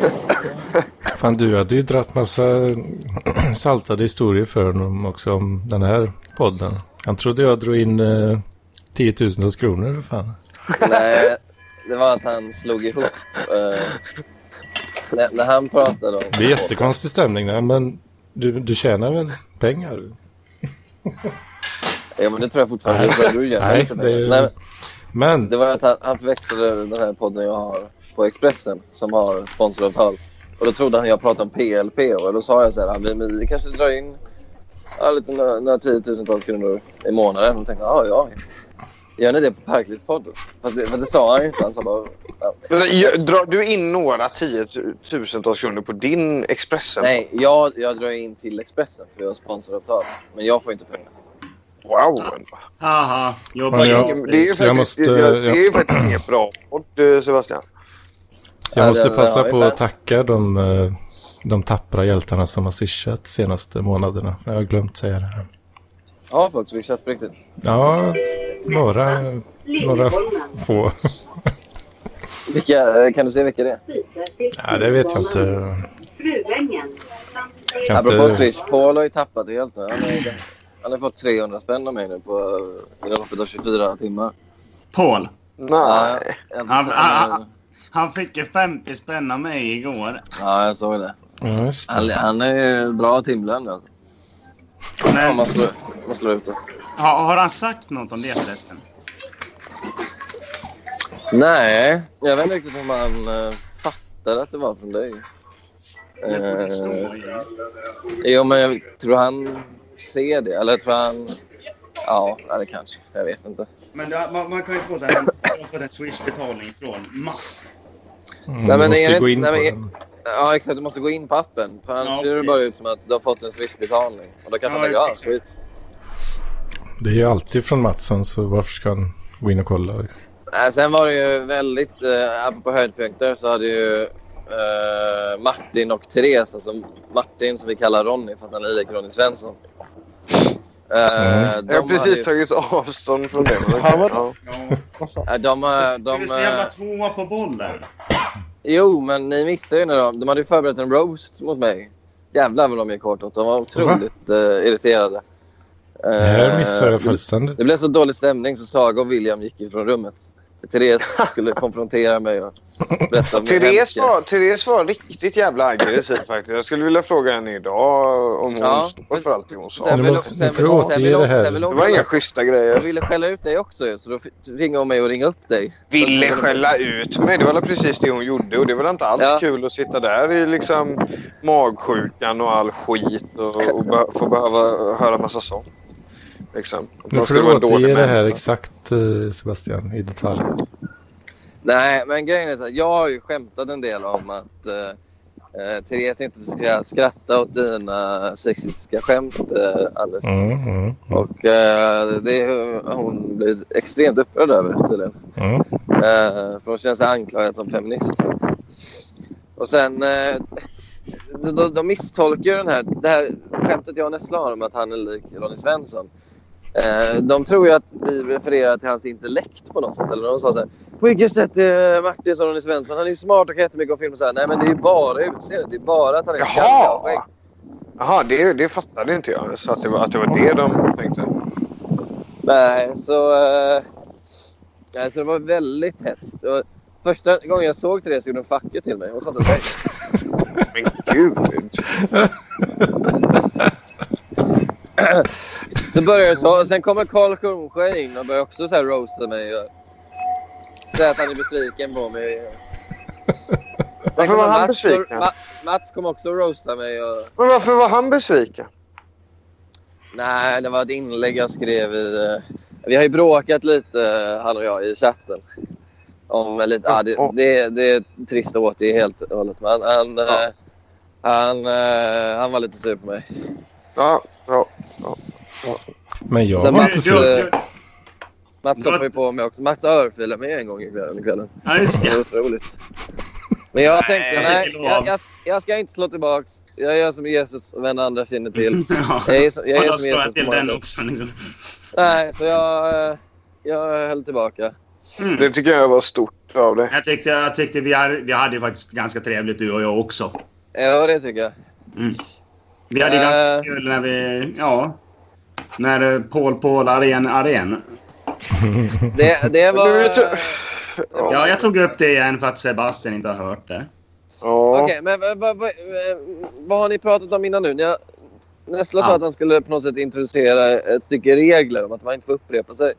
Fan, du hade ju dratt massa *clears throat* saltade historier för honom också om den här podden. Han trodde jag drog in eh, tiotusentals kronor för fan.
Nej, det var att han slog ihop. eh, när, när han pratade om...
Det är jättekonstig stämning där, men du, du tjänar väl pengar?
Ja, men det tror jag fortfarande.
Nej.
Det tror jag du gör.
Nej,
Men-
det är-
Nej,
Men
det var att han, han förväxlade den här podden jag har på Expressen som har sponsoravtal Och då trodde han jag pratade om PLP och då sa jag så här, "Ah, vi, men vi kanske drar in ja, lite, några, några tiotusentals kronor i månaden. Och tänkte, "Ah, ja, ja. Gör ni det på Parklivs podd? Fast det, fast det sa han ju inte. Han sa bara, "Ja."
eh, Drar du in några tiotusentals kronor på din Expressen?
nej, jag, jag drar in till Expressen för jag har sponsoravtal. Men jag får inte pengar.
Wow!
Haha,
Det är ingen- det är ju
Jag
faktiskt,
måste-
det är ju
jag-
faktiskt
*clears throat*
inget bra podd, eh, Sebastian.
Jag
Ja,
måste
det-
passa
ja,
på
ungefär.
att tacka de, eh, de tappra hjältarna som har swishat senaste månaderna. Jag har glömt säga det här.
Ja, folk swishat på riktigt.
Ja, några, några få.
Vilka, kan du se vilka det är?
Ja, det vet jag inte.
Frulängen.
Kan
Apropå
inte-
Swish, Paul har ju tappat det helt nu. Han har, han har fått 300 spänn av mig nu på, eh, inom loppet av 24 timmar.
Paul.
Nej.
Han, han, han fick ju 50 spänn av mig igår.
Ja, jag såg det.
Ja, just
Han,
det.
han är ju bra timlön nu. alltså. Om man slår, om man slår ut det.
Har, har han sagt något om det förresten?
Nej, jag vet inte riktigt om han eh, fattade att det var från dig.
Det står
Uh,
ju.
jo, men jag tror han ser det. Eller jag tror han... Ja, det kanske. Jag vet inte.
Men det, man, man kan ju få så här, man har fått en swishbetalning från Mats.
Mm,
Nej, men
måste
är det,
gå in
nej,
på
men är-
den.
Ja, exakt. Du måste gå in på appen. För annars ser det bara ut som att du har fått en Swish-betalning. Och då kan man lägga av. Skit.
Det är ju alltid från Mattsson, så varför ska han gå in och kolla? Liksom?
Nej, Äh, sen var det ju väldigt... Eh, apropå höjdpunkter så hade ju eh, Martin och Therese, alltså Martin som vi kallar Ronny för att han är lik Ronny Svensson. Eh, de
jag har
hade
precis
ju-
tagit avstånd från det. men- ja.
Eh, de, eh, de,
Du är så jävla
eh,
tvåa på bollen.
Jo, men ni missade ju när de... De hade ju förberett en roast mot mig. Jävlar vad de gick hårt åt. De var otroligt eh, irriterade.
Det
Eh,
här missar jag
det-
fullständigt.
Det blev så dålig stämning så Saga och William gick ifrån rummet. Therese skulle konfrontera mig och berätta om min
Therese
hemska-
var, Therese var riktigt jävla aggressiv faktiskt. Jag skulle vilja fråga henne idag om hon
Ja.
står för allt det hon sa.
Sen vill- sen vill- sen vill hon- sen vill
Det
hon-
var inga schyssta grejer.
Hon ville skälla ut dig också ju, så då f- tvingade hon mig att ringa upp dig.
ville skälla ut mig. Det var väl precis det hon gjorde och det var inte alls
Ja.
kul att sitta där i liksom magsjukan och all skit och, och be- få behöva höra massa sånt. Liksom. Och
Nu
de
får
skulle
du
vara en dålig
återge det här
människa.
exakt, eh, Sebastian, i detalj.
Nej, men grejen är så här, jag har ju skämtat en del om att eh, eh, Therese inte ska skratta åt dina sexistiska skämt, eh, Anders.
Mm, mm,
Och eh, det har hon blivit extremt upprörd över tydligen.
mm.
Eh, för hon känner sig anklagad som feminist. Och sen... Eh, de, de, de misstolkar ju den här, det här skämtet jag och Nessla har om att han är lik Ronny Svensson. Eh, de tror ju att vi refererar till hans intellekt på något sätt. Eller de sa så här, på vilket sätt är Martin som Ronny Svensson? Han är ju smart och kan jättemycket om film. Och så här, Nej men det är ju bara utseendet. Det är bara att han är
Jaha! Jaha, det, det fattade inte jag. Så att det var, att det, var det de tänkte.
Nej, så... eh, nej, så det var väldigt hetskt. Och Första gången jag såg Therese gjorde hon facket till mig. Hon satte sig.
Men gud!
så började det så. Och sen kommer Karl Kronjö in och börjar också så här roasta mig. Och säga att han är besviken på mig. Sen
Varför
kommer
var han
Mats
besviken?
och- Ma- Mats kom också och roasta mig. Och...
Men varför var han besviken?
Nej, det var ett inlägg jag skrev i... eh, Vi har ju bråkat lite, eh, han och jag, i chatten. Om lite, ah, det, det, det är trist att återge helt och hållet. Men han, han, eh, han, eh, han var lite sur på mig.
Ja, bra.
Men jag
Sen
var inte
Mats,
så...
eh, Mats hoppade ju på mig också. Mats örfilade mig en gång i kvällen. i kvällen.
Ja, just
det. var otroligt. Men jag tänkte, nej, jag, jag, jag ska inte slå tillbaks. Jag gör som Jesus och vänder andra kinden till. Jag är, så- jag
Och
är
då
som
slår
Jesus
jag
på
till
många
den
sätt.
också. Liksom.
Nej, så jag, eh, jag höll tillbaka.
Det tycker jag var stort av dig.
Jag tyckte, jag tyckte vi, hade, vi hade ju faktiskt ganska trevligt du och jag också.
Ja, det tycker jag.
Vi hade
Eh.
ganska kul när vi... Ja. När eh, Paul Paul Aren Aren.
Det, det var...
Ja, jag tog upp det igen för att Sebastian inte har hört det.
Okej, men vad- vad- vad- vad har ni pratat om innan nu? Ni har- Nessla sa
Ja.
att han skulle på något sätt introducera ett stycke regler om att man inte får upprepa sig.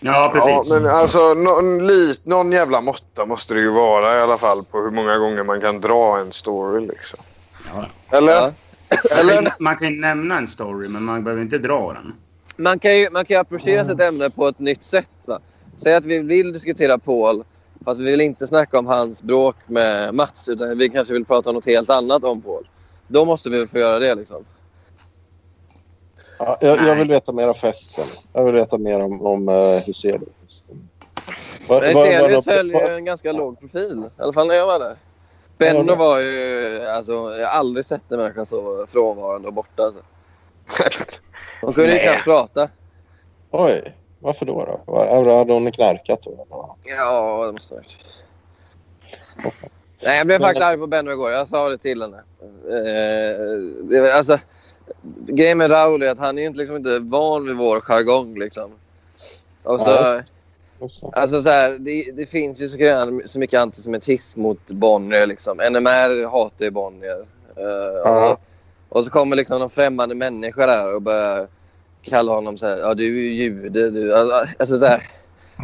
Ja, precis.
men alltså, någon, lit, någon jävla måtta måste det ju vara i alla fall på hur många gånger man kan dra en story. Liksom. Eller?
Eller? Man kan ju nämna en story, men man behöver inte dra den.
Man kan ju, man kan ju approchera sitt ämne på ett nytt sätt. Va? Säg att vi vill diskutera Paul, fast vi vill inte snacka om hans bråk med Mats. Utan vi kanske vill prata om något helt annat om Paul. Då måste vi väl få göra det. Liksom.
Ja, jag, jag vill veta mer om festen. Jag vill veta mer om, om eh, hur ser du festen? Var- var- var
Hyselius
de-
höll ju
var-
en ganska låg profil. I alla fall när jag var där. Benno var ju... Alltså, jag har aldrig sett en människa så frånvarande och borta.
*laughs*
Alltså. De kunde
Nej.
ju knappt prata.
Oj, varför då? då? Var, hade hon knarkat då? Ja.
Ja, det måste ha varit. Nej, jag blev faktiskt arg på Benno igår. Jag sa det till henne. Eh, det, var- alltså, grejen med Raoul är att han är ju inte, liksom inte van vid vår jargong. Liksom. Och så,
Ja, just det.
alltså, så här, det, det finns ju så, grann, så mycket antisemitism mot Bonnier. Liksom. NMR hatar ju Bonnier. Eh,
Ja.
och, och så kommer liksom någon främmande människa där och börjar kalla honom så här. Ja, du är ju jude. Du. Alltså, så här,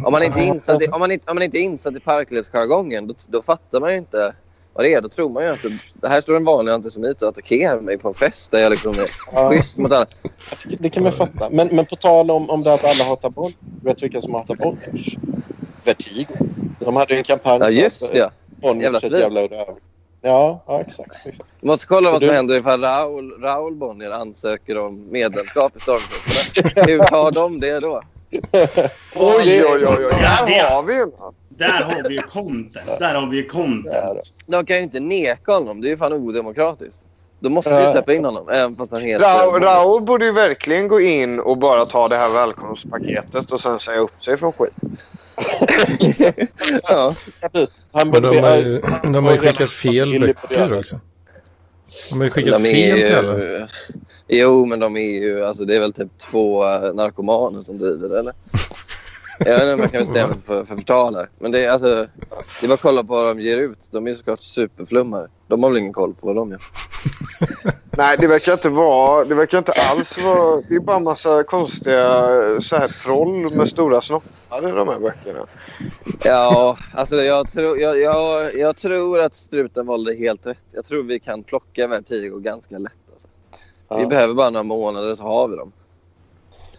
om man inte är insatt i, om man inte, om man inte är insatt i parklivsjargongen då, då fattar man ju inte vad det är. Då tror man ju att det, det här står en vanlig antisemit och attackerar mig på en fest där jag liksom är schysst mot alla.
Det kan man fatta. Men, men på tal om, om det att alla hatar boll. Vet du vilka som hatar Bonniers? Vertigo. De hade ju en kampanj.
Ja,
så
just
att,
det, ja.
Bonniers
Jävla
är ett
svin.
jävla röv. Ja, ja exakt. exakt.
Du måste kolla vad som
Du-
händer ifall Raoul, Raoul Bonnier ansöker om medlemskap i Stormtrupperna. Hur tar de det då?
Oj, oj, oj, oj.
Där
har vi ju
Där har vi ju content. Där har vi ju content.
De kan ju inte neka honom. Det är ju fan odemokratiskt. Då måste
Ja.
vi släppa in honom, även fast han heter...
Rao, Rao borde ju verkligen gå in och bara ta det här välkomstpaketet och sen säga upp sig från skit.
*laughs* ja.
Han
Men
borde
de
bli
har
arg.
ju, de har ju skickat fel böcker också. De har ju skickat
De är
fel till alla.
ju, Jo, men de är ju... Alltså, det är väl typ två eh, narkomaner som driver det, eller? Jag vet inte om jag kan bestämma mig för, för förtal här. Men det är alltså... Det är bara att kolla på vad de ger ut. De är ju såklart superflummare. De har väl ingen koll på vad de gör.
Nej, det verkar inte vara... Det verkar inte alls vara... Det är bara en massa konstiga så här, troll med stora snoppar i de här böckerna.
Ja, alltså jag, tror jag, jag, jag tror att struten valde helt rätt. Jag tror vi kan plocka Vertigo ganska lätt. Alltså. Vi
Ja.
behöver bara några månader så har vi dem.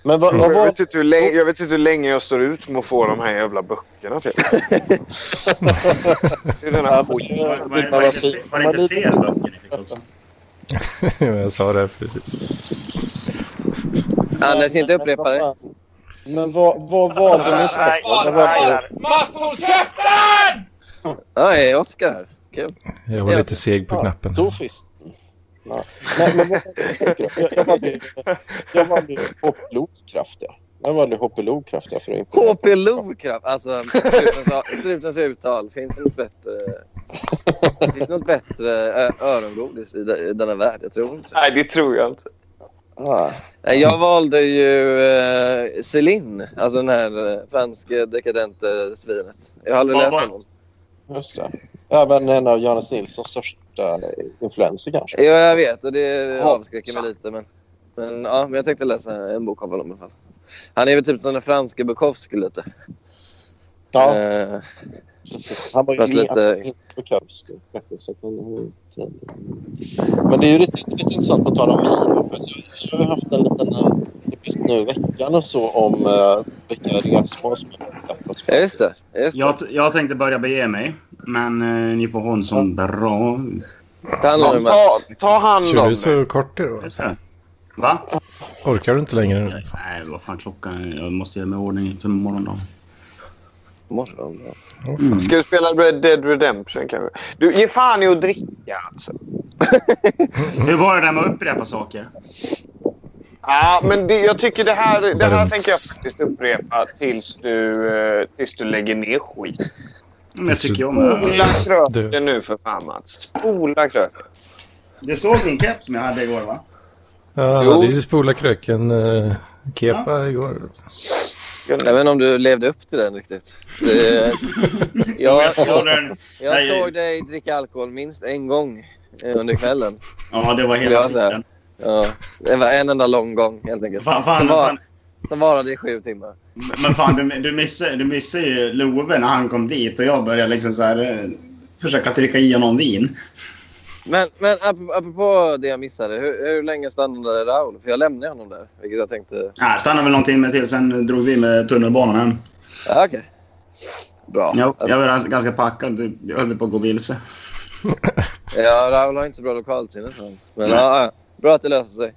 Men
Mm.
jag, vet inte hur länge, jag vet inte hur länge jag står ut med att få de här jävla böckerna
*laughs*
typ. till. till den här skiten.
Var, var, var, det inte, var det inte fel böcker ni fick också?
*laughs* jag sa det precis.
Anders, inte upprepa det.
Men vad, vad var det ni
Nej,
pratade om? Vad var det?
Mats, håll käften!
Nej, Oskar här. Kul.
Jag var lite seg på knappen.
Så schysst. Ja. Nej, men vad jag, jag valde- jag valde hoppelokraftiga. Jag valde hoppelokraftiga för att imponera.
HP Lovecraft. Alltså, strutens, strutens uttal. Finns det något bättre, finns det något bättre ö- örongodis i de- i denna värld? Jag tror inte
Nej, det tror jag inte.
Nej, Jag valde ju eh, Céline, alltså den här eh, franske dekadente eh, svinet. Jag har aldrig
Vad
läst
var-
honom.
Just det. Även en av Jonas Nilssons största influenser kanske.
Ja, jag vet. Och det
Ja.
avskräcker mig lite. Men, men, ja, men jag tänkte läsa en bok av honom i alla fall. Han är väl typ som den franske Bukowski lite.
Ja.
Eh,
Precis. Han var ju
Fast
med
lite-
lite... Bukowski. faktiskt, så att han har ju- Men det är ju lite, lite intressant på tal om Miro. för Jag har ju haft en liten eh, debatt nu i veckan och så om eh, vilka resmål som har varit
Ja, just det. Just det.
Jag-
Jag tänkte börja bege mig, men eh, ni får ha en sån bra...
Ta,
ta, ta hand
Kör
om
du
det.
så kort idag?
Va?
Orkar du inte längre nu?
Nej, vad fan klockan är. Jag måste göra mig i ordning för morgondagen.
Morgondagen?
Ska du spela Red Dead Redemption kanske? Du, ge fan i att dricka alltså.
Hur var det där med att upprepa saker?
Ja, men det, jag tycker det här, det här tänker jag faktiskt upprepa tills du, eh, tills du lägger ner skit.
Men Mm, jag tycker om
Spola
det.
kröken nu för fan Mats. Spola kröken.
Du såg min keps som jag hade igår, va?
Ja,
Jo.
det är ju spola kröken eh, kepa igår.
Jag vet inte om du levde upp till den riktigt. Det,
jag,
jag,
såg den.
jag
Nej,
såg dig dricka alkohol minst en gång eh, under kvällen.
Ja, det var hela
Jag så här-
tiden.
Ja, det var en enda lång gång helt enkelt.
Fan, fan,
det, var,
fan.
Sen varade det i sju timmar.
Men fan, du, du, missade, du missade ju Love när han kom dit och jag började liksom så här, eh, försöka trycka i honom vin.
Men, men ap- apropå det jag missade, hur, hur länge stannade Raul? För jag lämnade honom där, vilket jag tänkte...
Nej, stannade väl någon timme till, sen drog vi med tunnelbanan hem.
Ja, Okej. Bra.
Jag, jag var ganska- ganska packad, jag höll på att gå vilse.
Ja, Raul har inte så bra lokalsinne. tror jag. Men
Nej.
ja, ja, bra att det löser sig.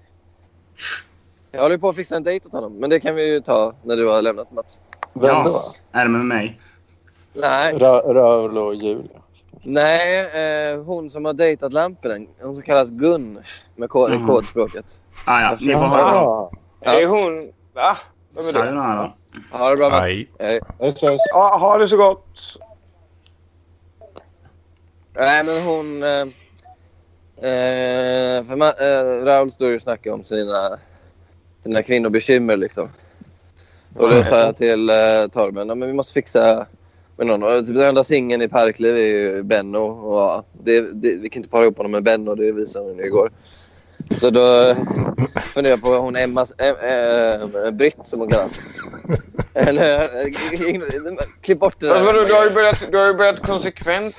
Jag håller på att fixa en dejt åt honom, men det kan vi ju ta när du har lämnat Mats.
Vem då?
Är det med mig?
Nej.
Ra- Raul och Julia.
Nej, eh, hon som har dejtat Lampinen. Hon som kallas Gun med k-
Mm.
kodspråket.
Ah, ja, ni får ha det bra.
Är hon... Va? Vem är det?
Sayonara.
Ha det bra Mats. Hej.
Ja, ha det så gott.
Nej, men hon... Eh, eh, för ma- eh, Raul står ju och snackar om sina, sina kvinnobekymmer. Liksom. Och då sa jag till eh, Torben ja, men vi måste fixa med någon. Och typ Den enda singeln i Parkliv är ju Benno. Och, ja, det, det, vi kan inte para ihop honom med Benno, det visade hon ju igår. Så då funderade jag på hon Emma, em, eh, Britt som hon kallas. Eller, eh, *laughs* klipp bort det där.
Alltså, vadå, du, har ju börjat, du har ju börjat konsekvent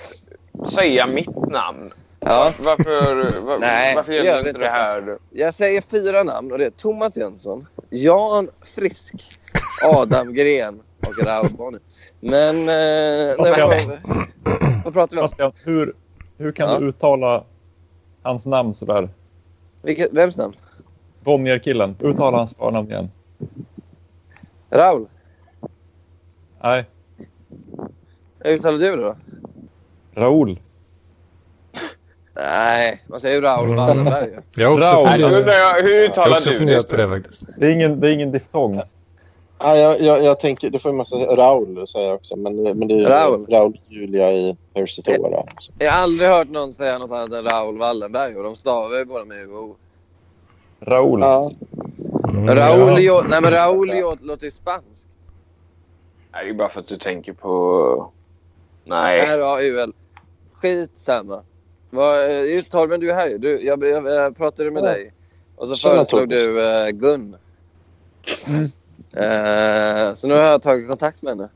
säga mitt namn.
Ja.
Varför, var,
Nej,
varför
gör
gäller inte
vi inte.
det här?
Jag säger fyra namn och det är Thomas Jönsson, Jan Frisk, *laughs* Adam Gren och Raoul Bonnier. Men... Eh, nej,
Bastian.
vad, vad pratar vi om?
Bastian, hur, hur kan
Ja.
du uttala hans namn sådär?
Vilket, vems namn?
Bonnier-killen. Uttala hans förnamn igen.
Raoul?
Nej,
Hur uttalar du det då?
Raoul.
Nej, man säger ju Raoul Wallenberg.
*laughs*
ju.
Jag har också
Raoul.
funderat-
Jag undrar,
hur
Jag har också funderat på det faktiskt.
Det är ingen, det är ingen diftong.
Ja, jag, jag, jag tänker, det får ju massa Raul säga också. Men, men det är ju
Raul.
Raul, Julia i Persetora.
Jag har aldrig hört någon säga något annat än Raoul Wallenberg och de stavar ju båda med UO.
Raoul.
Ja.
Mm,
Raoul, ja. nej, men Raoul ja, låter ju spanskt.
Nej, det är bara för att du tänker på... Nej.
R-A-U-L. Skitsamma. Vad, eh, just Torben, du är här ju. Du, jag, jag, jag pratade med
Ja.
dig. Och så
Tjena,
föreslog
Torben.
du eh, Gun. Eh, så nu har jag tagit kontakt med henne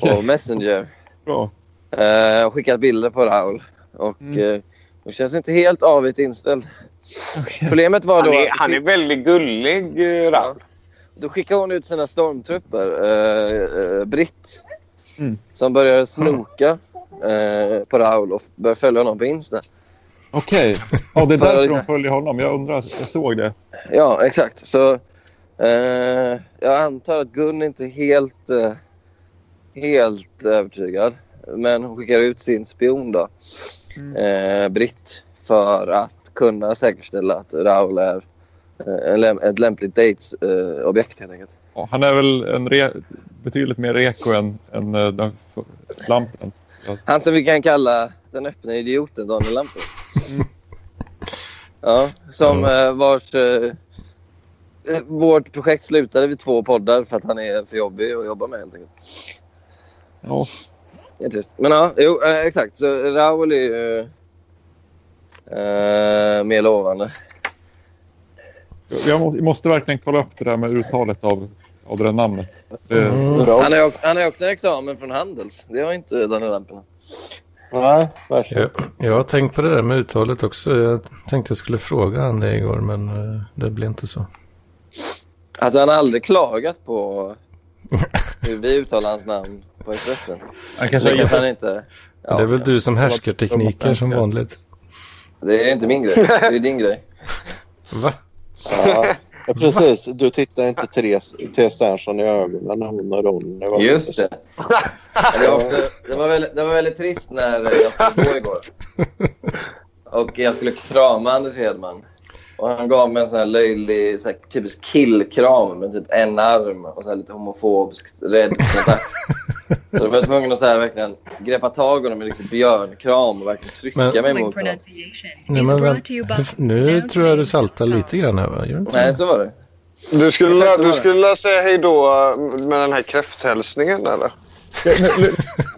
på Messenger.
Bra.
Eh, och skickat bilder på Raoul. Och
Mm.
eh, hon känns inte helt avigt inställd. Problemet var då...
Han är,
att-
han är väldigt gullig, eh, Raoul.
då skickade hon ut sina stormtrupper, eh, eh, Britt,
Mm.
som började snoka eh, på Raoul och f- började följa honom på Insta.
Okej. Ja, det är
För-
därför de följer honom. Jag undrar. Jag såg det.
Ja, exakt. Så eh, jag antar att Gun inte är helt, eh, helt övertygad. Men hon skickar ut sin spion då,
Mm.
eh, Britt, för att kunna säkerställa att Raoul är eh, en läm- ett lämpligt datesobjekt eh, objekt, helt enkelt.
Ja, han är väl en re, betydligt mer reko än, än eh, den f- lampen.
Han som vi kan kalla den öppna idioten Daniel Lampert. Ja, som eh, vars... Eh, eh, vårt projekt slutade vid två poddar för att han är för jobbig att jobba med helt enkelt.
Ja.
Det är trist. Men ja, jo, eh, exakt. Så Raoul är ju eh, mer lovande.
Jag må, måste verkligen kolla upp det där med uttalet av, av det där namnet. Det,
Han har ju också, han har ju också en examen från Handels. Det har inte Daniel Lampinen.
Nej,
Jag, jag har tänkt på det där med uttalet också. Jag tänkte jag skulle fråga han det igår, men eh, det blev inte så.
Alltså han har aldrig klagat på hur vi uttalar hans namn på Expressen.
Han kanske har
Det
gett-
han inte.
Men det är väl du som härskar tekniker som vanligt.
Det är inte min grej. Det är din grej.
Va?
Ja, ja, precis. Du tittar inte Therese, Therese Sternson i ögonen när hon och Ronny var
*laughs*
Just det. Det var, också, det, var väldigt, det var väldigt trist när jag skulle gå igår. Och jag skulle krama Anders Hedman. Och han gav mig en sån här löjlig, så här typisk killkram med typ en arm och så här lite homofobskt rädd.
*laughs*
sånt där. Så då var jag tvungen att så här verkligen greppa tag i honom med en riktig björnkram och verkligen trycka
Men-
mig mot honom.
Nej, men, vänt- *laughs* nu tror jag du saltar lite grann här, va? Gör du inte
Nej, så var det.
Du skulle,
Exakt så
du
var det.
skulle säga hej då eh, med den här kräfthälsningen, eller?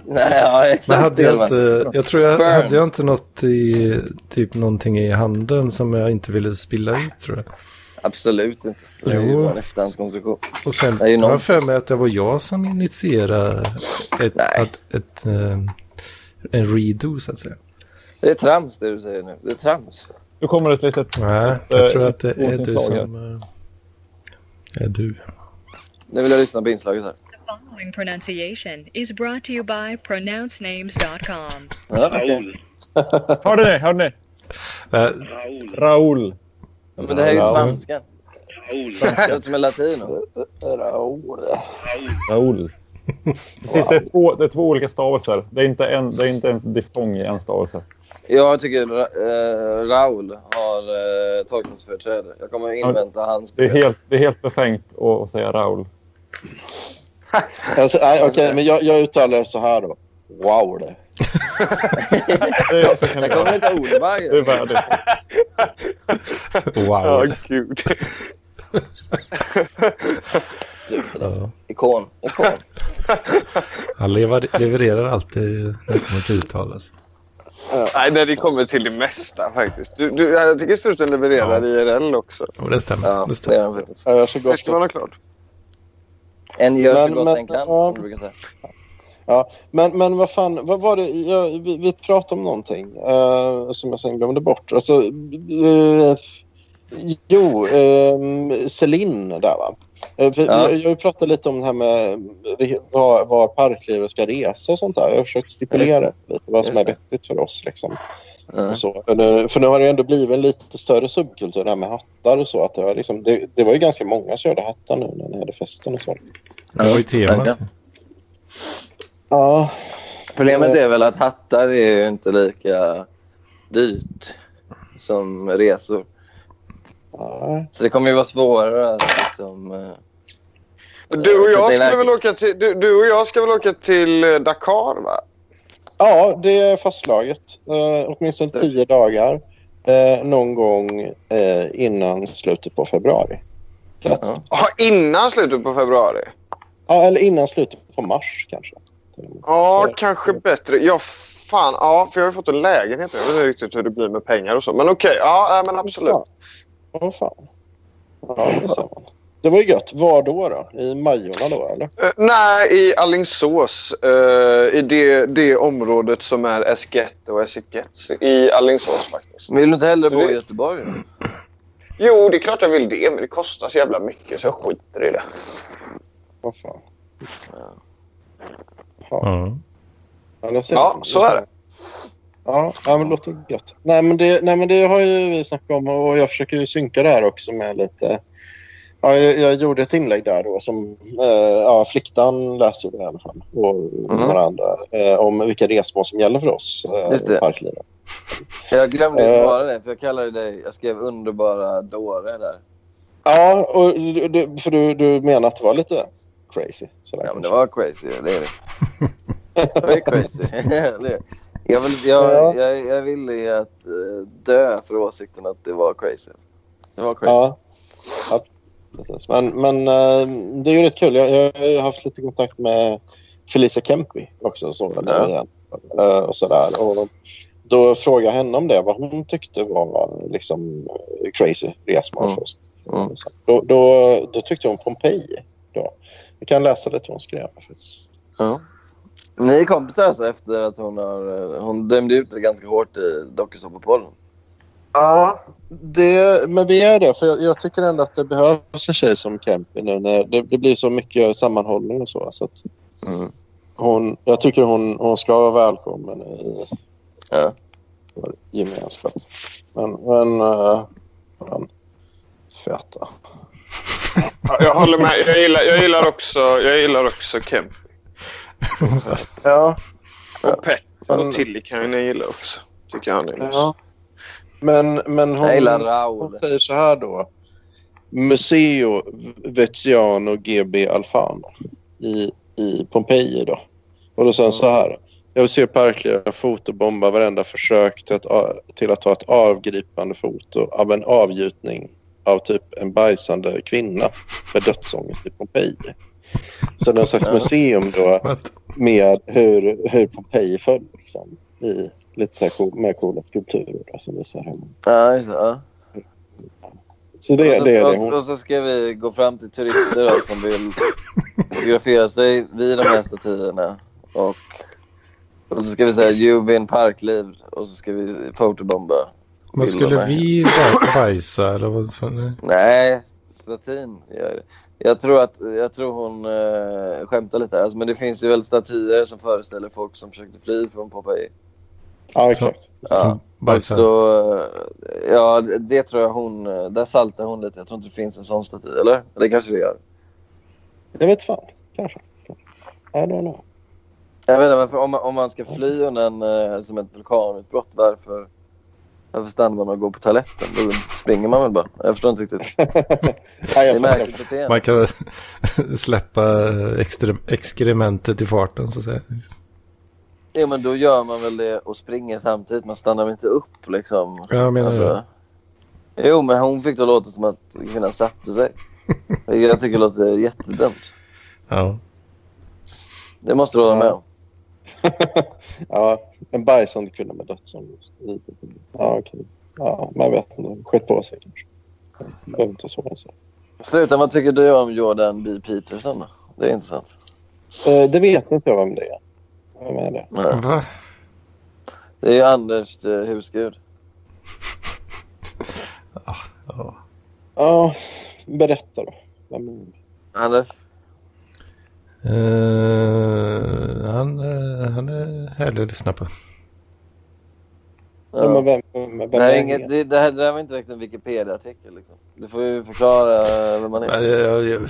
Nej, ja,
Men
exakt.
hade jag,
Hedman.
inte, jag tror jag
Burn.
hade jag inte något i, typ någonting i handen som jag inte ville spilla ut tror jag.
Absolut inte. Det är ju
Jo.
bara en efterhandskonstruktion.
Och sen
Det är ju
har jag
någon...
för mig att det var jag som initierade ett, att, ett, eh, en redo, så att säga.
Det är trams det du säger nu. Det är trams.
Nu kommer ett litet...
Nej,
eh,
jag tror att det är du
åsinslag här.
som... eh, är du.
Nu vill jag lyssna på inslaget här.
following pronunciation is brought to you by pronouncenames.com.
Raoul.
Hörde ni? Hörde ni?
Eh,
Raoul.
Raoul.
Men det här är ju
Raoul.
spanskan. Det låter som en latino.
Raoul. Precis, det är två, det är två olika stavelser. Det är inte en, det är inte en diftong i en stavelse.
Jag tycker Ra- eh, Raoul har eh, tolkningsföreträde. Jag kommer invänta hans...
Det är helt, det är helt befängt att, att säga Raoul.
Alltså, nej, okej, men jag, jag uttalar det så här då. Wow det.
Jag kommer inte Olberg.
Det är värdigt.
Wow.
Ja,
gud.
Sluta
*laughs* Ja.
Ikon. Ikon.
Han lever, levererar alltid när det kommer till uttal. Alltså.
Nej, när det kommer till det mesta faktiskt. Du, du, jag tycker struten levererar IRL också.
Jo, det stämmer.
Ja,
det stämmer.
Jag så
Det ska vara klart.
En gör så
Men-
gott
men-
en kan,
ja.
som du brukar säga.
Ja, men, men vad fan, vad var det? Jag, vi, vi pratade om någonting eh, som jag sen glömde bort. Alltså, eh, jo, eh, Celine där va? Eh, för,
Ja.
jag, jag pratade lite om det här med eh, vad, vad parklivet ska resa och sånt där. Jag har försökt stipulera
Just
lite vad som
Just
är
det.
vettigt för oss. Liksom. Och så. För nu- För nu har det ändå blivit en lite större subkultur det här med hattar och så. Att det, var liksom, det, det var ju ganska många som körde hattar nu när ni hade festen och så.
Det var ju temat.
verkligen.
Ja. Eh.
Problemet är väl att hattar är ju inte lika dyrt som resor. Så det kommer ju vara svårare att liksom... eh,
Du och,
sätta
jag skulle
iväg.
väl åka till, du, du och jag ska väl åka till eh, Dakar, va?
Ja, det är fastslaget. Eh, åtminstone tio dagar eh, någon gång eh, innan slutet på februari. Så att, ja.
Ja, innan slutet på februari.
eller innan slutet på mars kanske.
Ja, kanske bättre. Ja, fan. Ja, för jag har ju fått en lägenhet. Jag vet inte riktigt hur det blir med pengar och så. Men okej, ja, nej, men absolut.
Vad fan. Ja, det, är så. det var ju gött. Var då? då? I Majorna då eller?
Eh, nej, i Allingsås. eh, I det, det området som är Esquette och Esikets. I Allingsås faktiskt.
Vill du inte hellre
Så
bo
det-
i Göteborg? då?
Jo, det är klart jag vill det. Men det kostar så jävla mycket så jag skiter i det.
Vad fan.
Ja.
Eller så-
Ja, så är det.
Ja, ja men det låter gött. Nej men, det, nej, men det har ju vi snackat om och jag försöker ju synka det här också med lite... Ja, jag, jag gjorde ett inlägg där då som... Eh, ja, Fliktan läser ju det i alla fall. Och
Mm.
några andra. Eh, om vilka resmål som gäller för oss eh,
Just det.
i parklivet.
Jag glömde ju
Eh.
svara det, för jag kallade dig... Jag skrev underbara dåre där.
Ja, och, du- du- för du, du menar att det var lite crazy? Sådär.
Ja, men det var crazy. Det är det. Det var ju crazy. *laughs* Det är- jag, vill, jag,
Ja.
jag, jag ville att eh, dö för åsikten att det var crazy. Det var crazy.
Ja. ja precis. Men, men eh, det är ju rätt kul. Jag, jag har ju haft lite kontakt med Felicia Kempi också. Så, där igen. Eh, och sådär. Och då frågade jag henne om det, vad hon tyckte var liksom, eh, crazy resmål för oss. Då, då, då tyckte hon Pompeji. Då. Vi kan läsa lite hon skrev. Faktiskt.
Ja. Ni är kompisar alltså efter att hon har... eh, Hon dömde ut det ganska hårt i dokusåpapodden.
Ja, det, men vi är det. För jag, jag tycker ändå att det behövs en tjej som Kempi nu. När det, det blir så mycket sammanhållning och så. så att hon, jag tycker hon, hon ska vara välkommen i
ja.
vår gemenskap. Men, men uh, fan, feta.
Ja, Jag håller med. Jag gillar, jag gillar också, jag gillar också Kemp.
Ja.
Och Petter
Mm.
och Tilly kan ju ni gilla också. Tycker han är nice.
Ja. Men, men
Jag
hon,
gillar
hon säger så här då. Museo Veziano GB Alfano i, i Pompeji. Då. Och då sa han så
Mm.
här. Jag vill se Parkliga fotobomba varenda försök till att, a- till att ta ett avgripande foto av en avgjutning av typ en bajsande kvinna med dödsångest i Pompeji. Så det är någon slags
Ja.
museum då med hur, hur Pompeji föll liksom, i lite så här cool, med coola skulpturer då, som visar hur man
Ja, just det. Ja.
Så det,
och,
det är det
och,
hon...
och så ska vi gå fram till turister då, alltså, som vill fotografera sig vid de här statyerna. Och, och så ska vi säga “You've been parkliv” och så ska vi fotobomba.
Men skulle
bilderna.
vi baj- bajsa eller vad sa ni?
Nej, statyn gör det. Jag tror, att, jag tror hon eh, skämtar lite här. Alltså, men det finns ju väl statyer som föreställer folk som försökte fly från Pompeji.
Ja, alltså- exakt.
Ja. Och
bajsar.
så, eh, ja, det tror jag hon... eh, Där saltar hon lite. Jag tror inte det finns en sån staty, eller? Det kanske det gör.
Jag vet fan. Kanske. I don't know.
Jag vet inte, varför, om, man- om man ska fly undan eh, som ett vulkanutbrott, varför, varför stannar man och går på toaletten? Då springer man väl bara? Jag förstår inte riktigt. det är märkligt beteende.
Man kan *laughs* släppa extre- exkrementet i farten så att säga.
Jo, men då gör man väl det och springer samtidigt. Man stannar väl inte upp liksom.
Ja, jag menar
Alltså-
Jo, men hon fick det att låta som att kvinnan satte
*laughs*
sig. Vilket jag tycker låter jättedumt.
Ja.
Det måste du hålla med om.
ja, en bajsande kvinna med dödsångest. Ja, okej. Ja, man vet inte. Skit på sig kanske. Behöver inte svara så.
Sluta, vad tycker du om Jordan B. Peterson? då? Det är intressant.
Eh, det vet inte jag vem det är. Vem är det?
Mm.
Nej. Det är Anders eh, husgud.
Ja, berätta då. Vem är det?
Anders?
Eh, han, eh, han är härlig att lyssna på.
Nej, men vem, vem, vem
det, här är
är
inget, det, det, här, det här var inte direkt en Wikipedia-artikel. Liksom. Du får ju förklara eh, vem man
Jag,
är.
jag, jag,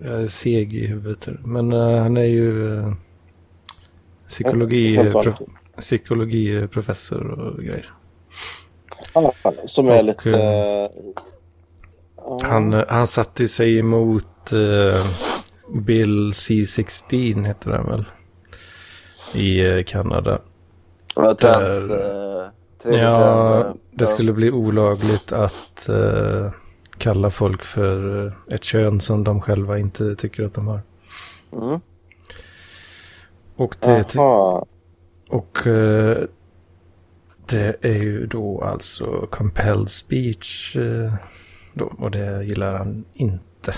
jag är seg i huvudet. här. Men eh, han är ju eh, psykologi,
Helt
pro,
vanligt.
psykologiprofessor och grejer.
han? Han Som är
Och,
lite...
eh, Han, eh, han satte ju sig emot eh, Bill C-16 heter han väl. I eh, Kanada.
Vad trans...
Där-
eh, tredje kön, eh,
Ja, det
ja.
skulle bli olagligt att eh, kalla folk för eh, ett kön som de själva inte tycker att de har.
Mm.
Och det, och, eh, det är ju då alltså compelled speech. eh, Då, och det gillar han inte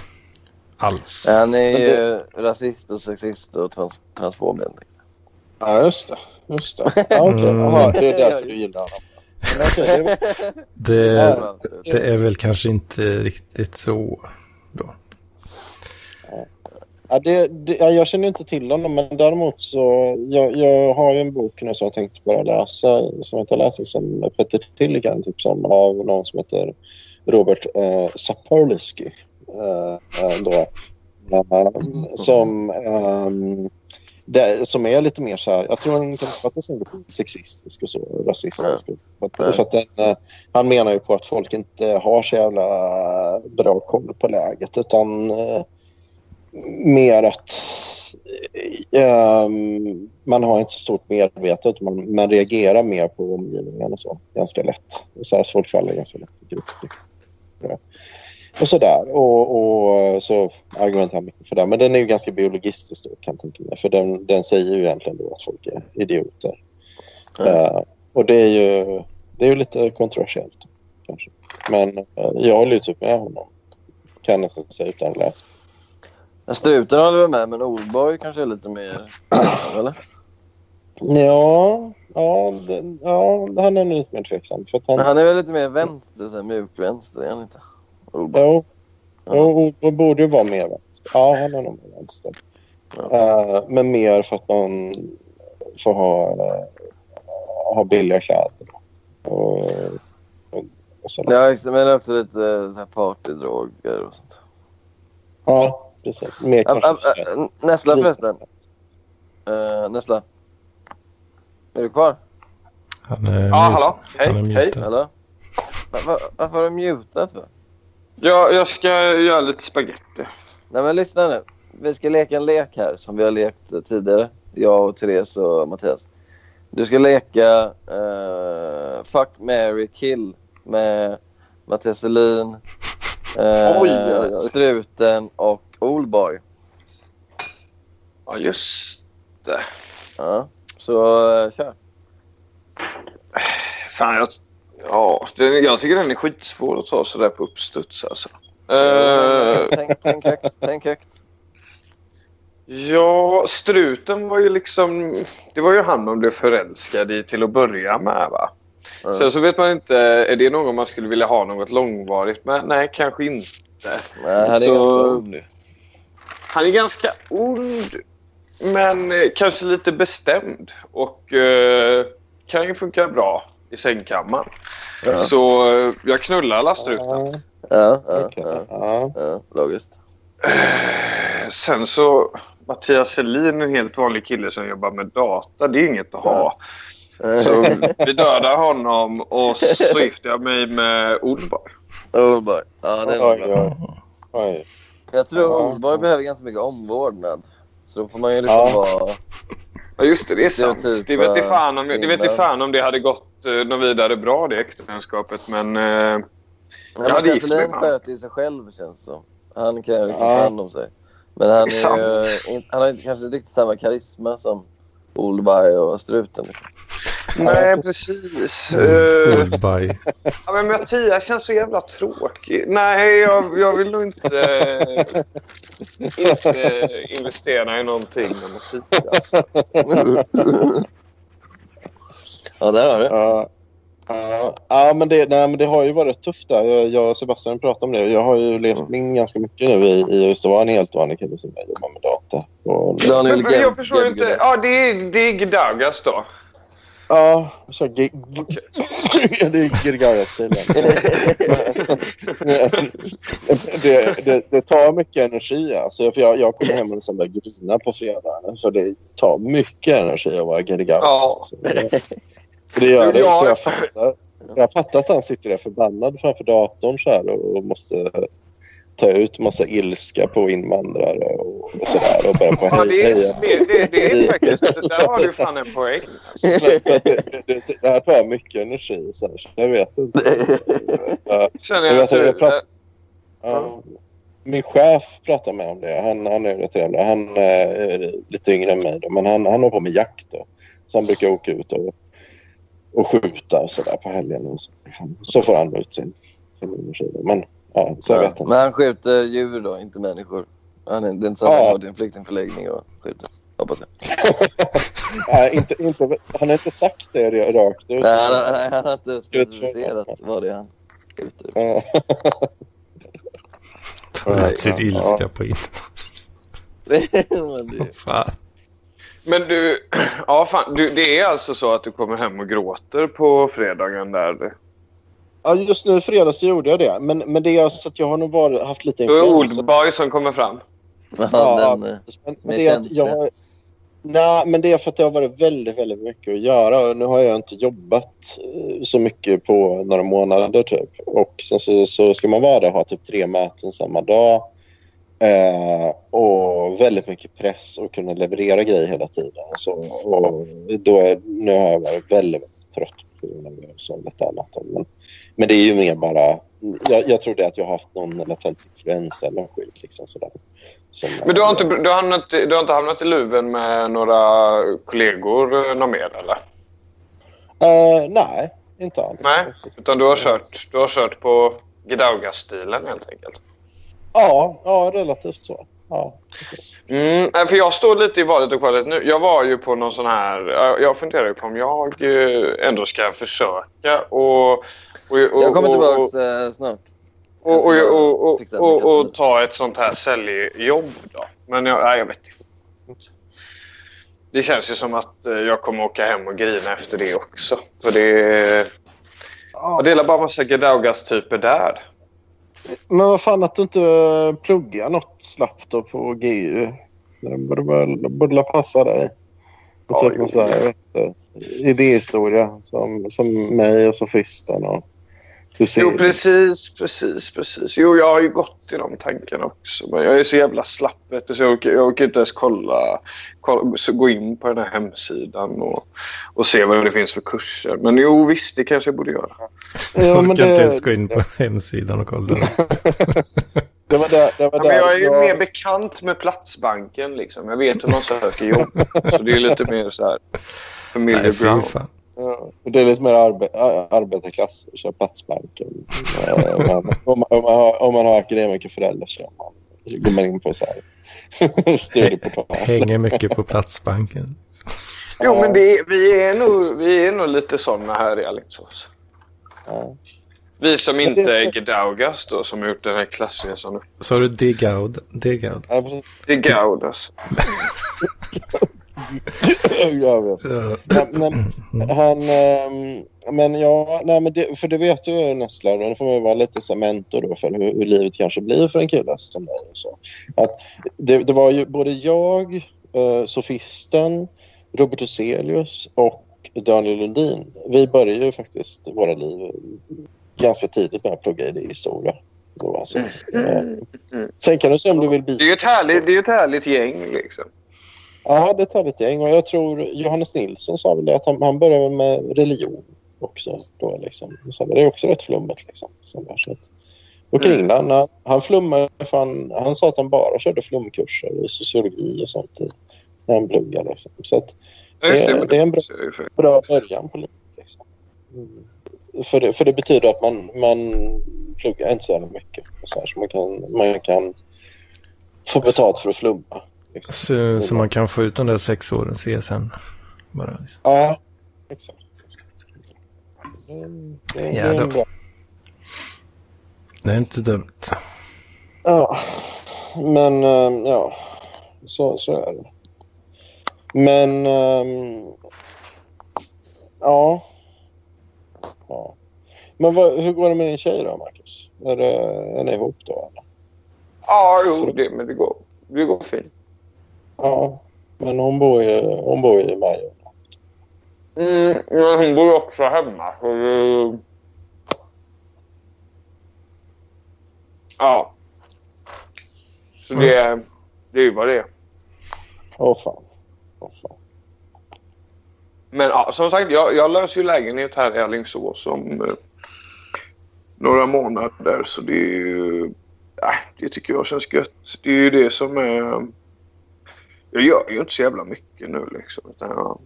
alls.
Han är ju rasist och sexist och trans, transfob.
Ja, just det. Just det. Ja, okej.
Mm.
Jaha, det är därför du gillar honom. Men okej, det var-
Det,
Ja.
det är väl kanske inte riktigt så.
Ja, det, det, ja, jag känner inte till honom, men däremot så... Jag, jag har ju en bok nu som jag tänkte börja läsa, som jag inte har läst, som Peter Tillikan tipsade om, av någon typ som heter Robert eh, Saperlisky. Eh, eh, då, eh, som, ehm, det, som är lite mer så här... Jag tror han kan uppfatta sig lite sexistisk och så, rasistisk. För att, för att den, eh, han menar ju på att folk inte har så jävla bra koll på läget, utan... Eh, mer att ehm, man har inte så stort medvetande utan man, man reagerar mer på omgivningen och så ganska lätt. Så här, folk faller ganska lätt för grupp. Ja. Och sådär. Och, och så argumenterar mycket för det. Men den är ju ganska biologistisk då kan jag tänka mig. För den, den säger ju egentligen då att folk är idioter. Eh, och det är ju, det är ju lite kontroversiellt. Kanske. Men eh, jag håller ju typ med honom. Kan jag nästan säga utan att läsa.
Struten håller väl med, men Olborg kanske är lite mer... eller?
Ja, ja, den- ja han är nog lite mer tveksam. För att han,
Men han är väl lite mer vänster, så här, mjuk vänster, är han inte?
Jo, jo, då borde ju vara mer vänster. Ja, han är nog mer vänster. Eh, men mer för att man får ha, eh, ha billiga kläder. Och, och, och sådär.
Ja, just det, men det är också lite eh, så här partydroger och sånt.
Ja, precis. Mer
Ab-
kanske.
ab- äh, Nässla förresten. Uh, Nässla. Är du kvar?
Han är
Ja, hallå. Hej,
Han är
hej.
mutad.
Hallå? Va- va- varför har du mutat? För?
Ja, jag ska göra lite spagetti.
Nej, men lyssna nu. Vi ska leka en lek här som vi har lekt eh, tidigare. Jag och Therese och Mattias. Du ska leka eh, Fuck, Mary kill med Mattias Selin,
Oj,
uh,
oj.
Struten och Oldboy.
Ja, just det.
Ja, så eh, kör.
Fan, jag, Ja, den, jag tycker den är skitsvår att ta sådär på uppstuds alltså. Eh,
Tänk, tänk högt, tänk högt.
Ja, struten var ju liksom... Det var ju han man blev förälskad i till att börja med va?
Ja.
Sen så vet man inte, är det någon man skulle vilja ha något långvarigt med? Nej, kanske inte.
Nej, han är
Så-
ganska ung nu.
Han är ganska ond, men eh, kanske lite bestämd. Och eh, kan ju funka bra i sängkammaren.
Ja.
Så eh, jag knullar lastruten.
Ja, ja, ja, ja, logiskt.
Sen så, Mattias Selin, en helt vanlig kille som jobbar med data. Det är inget att ha.
Eh,
Så
*laughs*
vi dödar honom och så gifter jag mig med Oldboy.
Oldboy. Ja, det är nog bra.
Oj.
Jag tror
Ja.
Oldboy behöver ganska mycket omvårdnad. Så då får man ju liksom
Ja.
vara...
Ja, just det. Det är typ, eh, sant.
Stereotypa
Det vet i fan om, det, vet i
kvinnor.
fan om det hade gått eh, något vidare bra, det äktenskapet. Men eh, jag
Ja,
hade
Mattias
gift mig
Selin
med honom.
sköter ju sig själv känns det som. Han kan ju liksom
Ja.
ta hand om sig. Men han,
Det är
är ju, inte- han har ju kanske inte riktigt samma karisma som Oldby och Struten. Liksom.
Nej, precis. Eh,
Oldby.
ja, men Mattias känns så jävla tråkig. Nej, jag, jag vill nog inte, inte investera i någonting med
*laughs*
Mattias.
Ja, där har du.
Ja, ja, ja, men, det, nej, men det har ju varit tufft där. Jag, jag och Sebastian pratade om det. Jag har ju levt
Mm.
in ganska mycket nu i, i just att vara en helt vanlig kille som jag jobbar med data. Och,
Men, men jag förstår inte. Ja, det är, det är Gdagas då.
Ja, jag kör gig... *laughs* det är Gregarius-stilen. det, det, det tar mycket energi. Alltså, för jag, jag kommer hem och sen börjar grina på fredagen. Så det tar mycket energi att vara Gregarius.
Ja.
Så det- Det gör det.
Ja.
Så jag fattar, jag fattar att han sitter där förbannad framför datorn så här och, och måste ta ut massa ilska på invandrare och, och sådär. Och börja på
Ja, det är,
heja.
det, det, det är faktiskt... Där har du fan en poäng.
det, det, det, det här tar mycket energi, så här, så jag vet inte. Ja,
Känner
jag
jag
vet inte,
att
jag pratar,
du...
*laughs* ja, min chef pratar med om det. Han, han är ju rätt trevlig. Han eh, är lite yngre än mig, då, men han, han håller på med jakt. Då. Så han brukar åka ut och, och skjuta och så där på helgen. Och så. så får han ut sin, sin energi. Då. Men ja, så jag vet inte.
Men han skjuter djur då, inte människor. Han är, det är inte så att han
Ja.
går till en flyktingförläggning och skjuter. Hoppas jag.
Nej, inte, inte, han har inte sagt det rakt ut.
Nej, han, han, han har inte specificerat vad det är han *laughs* skjuter.
Ja.
Ta ut sin
Ja.
ilska på in.
Men det-
Fan.
Men du, *clears throat* ja fan, du, det är alltså så att du kommer hem och gråter på fredagen där?
Ja, just nu i fredags gjorde jag det. Men, men det är så att jag har nog varit, haft lite
Då är det
influensa.
Oldboy som kommer fram.
Ja,
eh,
men, men, det är att jag har, nej, men det är för att det har varit väldigt, väldigt mycket att göra. Och nu har jag inte jobbat eh, så mycket på några månader typ. Och sen så, så ska man vara där och ha typ tre möten samma dag. Eh, och väldigt mycket press och kunna leverera grejer hela tiden. Och så, och då är, nu har jag varit väldigt, väldigt trött på grund av det och så lite annat. Men, men det är ju mer bara... Jag, jag trodde att jag har haft någon latent influensa eller någon skit. Liksom, sådär, som,
Men du har, inte, du, har hamnat, du har inte hamnat i luven med några kollegor eh, någon mer eller?
Eh, nej, inte alls.
Nej, utan du har kört, du har kört på Gdaugas-stilen helt enkelt.
Ja, ja, relativt så. Ja,
Mm, nej, för jag står lite i valet och kvalet nu. Jag var ju på någon sån här... jag- Jag funderar ju på om jag eh, ändå ska försöka och... och, och
Jag kommer
och-
tillbaka eh, snart.
och, och, och, och,
Fixa
och,
mycket
och, ta ett sånt här säljjobb då. Men jag, nej, jag vet inte. Det känns ju som att eh, jag kommer åka hem och grina efter det också. För det... Jag delar bara massa Gdaugas-typer där.
Men vad fan att du inte
eh,
pluggar något slappt då på GU. Det borde väl det borde la passa dig. Och typ någon sån här, jag vet inte, idéhistoria som, som mig och sofisten. Och du ser.
Jo, precis, precis, precis. Jo, jag har ju gått i de tankarna också. Men jag är så jävla slapp vet du, så jag orkar, jag orkar inte ens kolla, kolla, så gå in på den här hemsidan och, och se vad det finns för kurser. Men jo, visst, det kanske jag borde göra.
Ja,
Orkar
men
inte
det-
ens gå in på hemsidan och kolla.
Det var där, det var
Ja,
där
men jag är ju
jag-
mer bekant med Platsbanken. Liksom. Jag vet hur man söker jobb. så det är lite mer så här...
Nej,
Familjeground.
fy fan.
Ja, och det är lite mer arbe ar- arbetarklass. Kör Platsbanken. Eh, men om, man, om, man har, om man har akademikerföräldrar kör man. Går man in på så här *laughs* studieportal.
Hänger mycket på Platsbanken.
Jo, men det är, vi, är nog, vi är nog lite såna här i Alingsås. Vi som inte är Gedaugas då, som har gjort den här klassresan. upp.
Sa du Digaud? Digaud?
Gedaugas.
jag vet. Nej, men, han, ehm, men ja, nej, men det, för det vet ju Nesslar. och Nu får man ju vara lite så här mentor då för hur, hur livet kanske blir för en kille som dig. Och så. Att det, det var ju både jag, eh, Sofisten, Robert Hyselius och Daniel Lundin. Vi började ju faktiskt våra liv ganska tidigt med att plugga idéhistoria. Det var så. Eh, Sen kan du se om du vill
Mm. Det
byta.
är ju ett härligt, det är ju ett härligt gäng liksom.
Ja, det tar lite gäng. Och jag tror Johannes Nilsson sa väl det, att han, han började väl med religion också. Då, liksom. så det är också rätt flummigt. Liksom, så där, så att. Och
Mm.
Kringlan, han, han flummade för han, han sa att han bara körde flumkurser i sociologi och sånt i, när han pluggade. Liksom. Så att
Ja, just
det,
det, men
är- det är en bra,
det-
bra början på livet. Liksom. Mm. För, det, för det betyder att man, man pluggar inte så jävla mycket. och Så, här, så man, kan, man kan få betalt för att flumma. liksom.
Så, så man kan få ut de där sex åren CSN. Bara liksom.
Ja, exakt. Mm, det- det är en
Jävlar.
bra-
Det är inte dumt.
Ja, men ehm, ja, så, så är det. Men ehm, ja. ja. Men vad, hur går det med din tjej då, Marcus? Är, det, är ni ihop då? Eller?
Ja, jo, det, men det går, det går fint.
Ja, men hon bor ju, hon bor ju i Majorna.
Mm, men hon bor ju också hemma. Så det... Ja. Så det, det är ju vad det är.
Åh fan.
Men ja, som sagt, jag, jag löser ju lägenhet här i Alingsås om eh, några månader. Så det är ju... Äh, det tycker jag känns gött. Det är ju det som är... Jag gör ju inte så jävla mycket nu liksom. Utan jag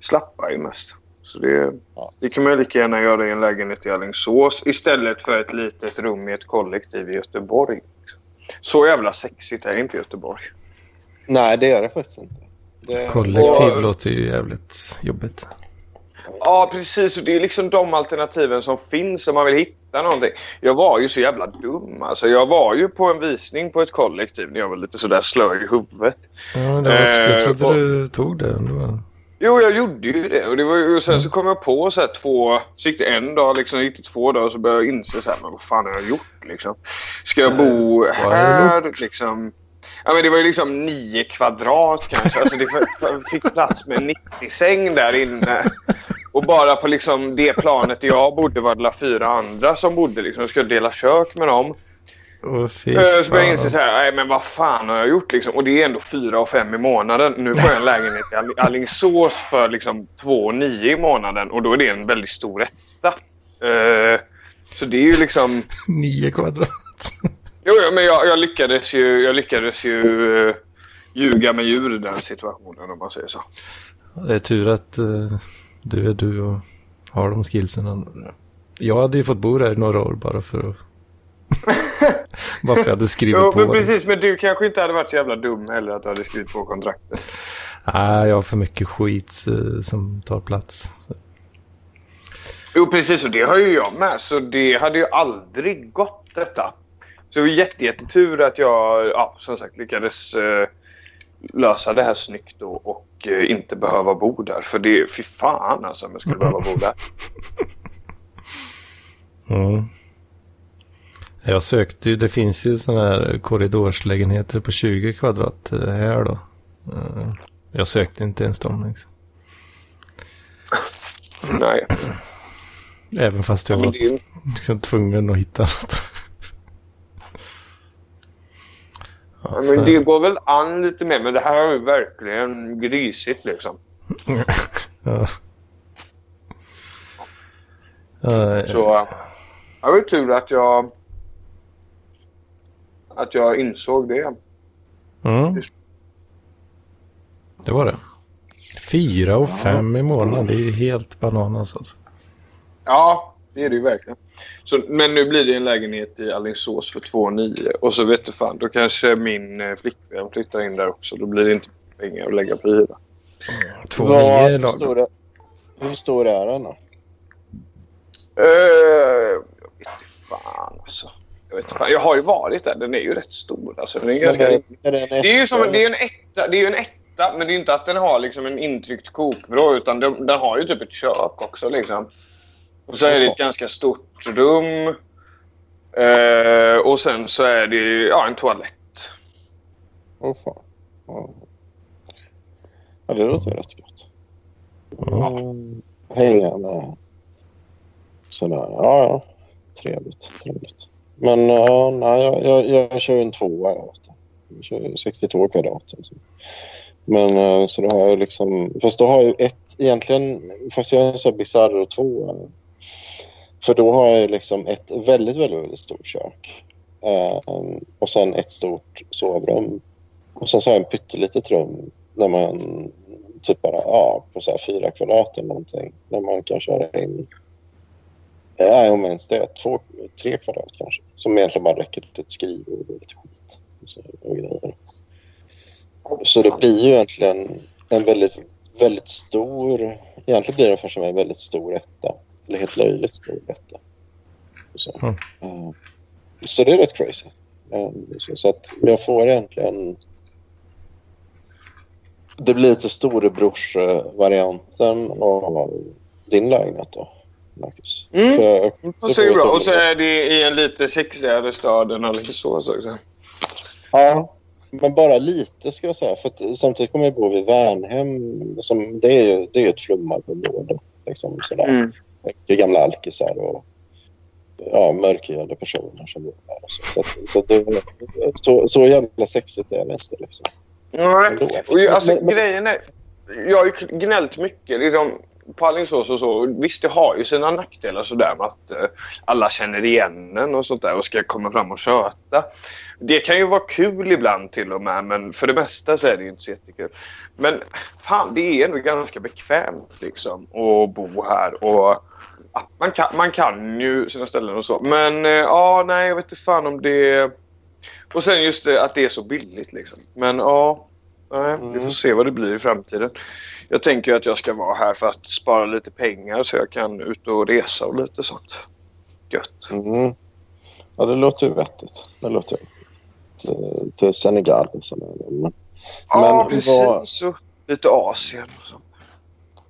slappar ju mest. Så det, det kan man ju lika gärna göra i en lägenhet i Alingsås istället för ett litet rum i ett kollektiv i Göteborg. Så jävla sexigt är inte Göteborg.
Nej, det är det faktiskt inte. Det-
Kollektiv
Och-
låter ju jävligt jobbigt.
Ja, precis. Och det är liksom de alternativen som finns om man vill hitta någonting. Jag var ju så jävla dum. Alltså, jag var ju på en visning på ett kollektiv när jag var lite sådär slö i huvudet.
Ja, det var, jag
Eh,
trodde
och-
du tog det ändå.
Jo, jag gjorde ju det. Och, det var ju, och sen så kom jag på så här två... Så gick det en dag, liksom, gick det två dagar och så började jag inse så här, men vad fan har jag gjort liksom? Ska jag bo
Eh, vad har jag
här liksom? Ja, men det var ju liksom nio kvadrat kanske. Alltså, det f- fick plats med 90 säng där inne. Och bara på liksom det planet där jag bodde var det la fyra andra som bodde. Liksom. Jag skulle dela kök med dem.
Åh, fy
Eh, Så började jag inse
fan.
så här, nej men vad fan har jag gjort liksom? Och det är ändå fyra och fem i månaden. Nu får jag en lägenhet i All- Alingsås för liksom två och nio i månaden och då är det en väldigt stor etta. Eh, Så det är ju liksom...
Nio kvadrat.
Jo, jo, men jag, jag lyckades ju, jag lyckades ju eh, ljuga med djur i den situationen om man säger så.
Det är tur att eh, du är du och har de skillsen. Jag hade ju fått bo där i några år bara
*laughs*
för att... bara för att jag hade skrivit
jo,
på.
men
det.
precis, men du kanske inte hade varit så jävla dum heller att du hade skrivit på kontraktet.
Nej, jag har för mycket skit eh, som tar plats. Så.
Jo, precis. Och det har ju jag med. Så det hade ju aldrig gått detta. Så det var jätte, jättetur att jag ja, som sagt lyckades eh, lösa det här snyggt då och eh, inte behöva bo där. För det, fy fan alltså om jag skulle behöva bo *laughs* där.
Mm. Jag sökte ju, det finns ju sådana här korridorslägenheter på 20 kvadrat eh, här då. Eh, Jag sökte inte ens dem liksom.
Nej.
Även fast jag
Ja, men
var
det är ju-
liksom tvungen att hitta något. Ja, så
men
är
det går väl an lite mer. Men det här är ju verkligen grisigt liksom.
Ja. Ja,
Så eh, det var ju tur att jag, att jag insåg det.
Mm. Det var det. Fyra och fem i månaden, det är ju helt bananas alltså.
Ja, det är det ju verkligen. Så, men nu blir det en lägenhet i Alingsås för 2,9 och så vet du fan, då kanske min eh, flickvän flyttar in där också. Då blir det inte pengar att lägga på hyra.
Vad stor, är- hur stor är den då?
Eh, jag vet inte fan alltså. Jag, vet inte fan. jag har ju varit där. Den är ju rätt stor. Alltså. Den är ganska...
Är
det,
det- är det en
är ju som,
etta?
det är ju en etta. Det är ju en etta, men det är ju inte att den har liksom en intryckt kokvrå utan den, den har ju typ ett kök också. Liksom. Och så är det ett ganska stort rum. Eh, och sen så är det ju, ja, en toalett.
Åh fan. Ja. Ja, det låter ju rätt gott. Mm. Hänga med sådär. Ja, ja. Trevligt. trevligt. Men ja, nej, jag, jag, jag kör ju en tvåa. Jag, vet du. jag kör ju 62 kvadrat. Alltså. Men eh, så då har jag liksom... Fast då har jag ju ett egentligen... Fast jag är så bisarr och tvåa. För då har jag ju liksom ett väldigt, väldigt, väldigt stort kök. Eh, och sen ett stort sovrum. Och sen så har jag en pyttelitet rum när man typ bara ja, på så här fyra kvadrat eller någonting. När man kan köra in, ja, om ens det, två, tre kvadrat kanske. Som egentligen bara räcker till ett skrivbord och lite skit och, så, och grejer. Så det blir ju egentligen en väldigt, väldigt stor, egentligen blir det ungefär som en väldigt stor etta. Eller helt löjligt stor etta. Och Så,
Mm.
Ja. så det är rätt crazy. Ja, Så, så att jag får egentligen det blir lite storebrorsvarianten av din lägenhet då, Marcus.
Mm.
För-
Och så, är det bra. och så är det i en lite sexigare stad än Alingsås också.
Ja, men bara lite ska jag säga. För att, samtidigt kommer jag bo vid Värnhem. Som, det är ju det är ju ett flummarområde. Liksom, sådär.
Mm.
Mycket gamla alkisar och ja, mörkhyade personer som bor där. och Så, så, att- så, att det, så, så jävla sexigt är det inte. Liksom.
Nej, och ju, alltså grejen är... Jag har ju gnällt mycket liksom, på Alingsås och så. Visst, det har ju sina nackdelar sådär med att eh, alla känner igen en och sånt där och ska komma fram och köta. Det kan ju vara kul ibland till och med, men för det mesta så är det ju inte så jättekul. Men fan, det är ändå ganska bekvämt liksom att bo här och ja, man kan, man kan ju sina ställen och så. Men eh, ja, nej, jag vet inte fan om det... Och sen just det, att det är så billigt liksom. Men ja, nej, vi
Mm.
får se vad det blir i framtiden. Jag tänker ju att jag ska vara här för att spara lite pengar så jag kan ut och resa och lite sånt. Gött.
Mm. Ja, det låter ju vettigt. Det låter ju till, till Senegal. och sådär. Men,
Ja,
men
precis.
vad-
Och lite Asien och sånt.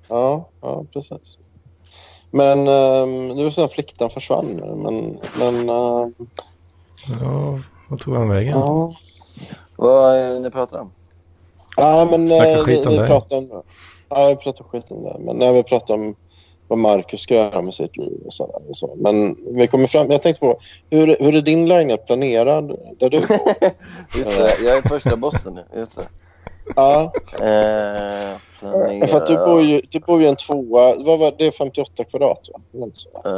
Ja, ja precis. Men um, det var så att flikten försvann. nu, Men, men ehm,
Ja, vad tog han vägen?
Ja.
Vad är det ni pratar om?
ja, men
Snacka
eh,
skit om
vi, vi
dig.
pratar om Ja, vi pratar skit om det. Men när vi pratar om vad Marcus ska göra med sitt liv och sådär. Och så. Men vi kommer fram... Jag tänkte på, hur, hur är din lägenhet planerad
*laughs*
där du bor?
Just det, jag är första bossen nu. Just det.
Ja.
Eh,
Ja, För att du bor ju, du bor ju i en tvåa. Vad var det? är 58 kvadrat, va? Eller något sånt.
Eh,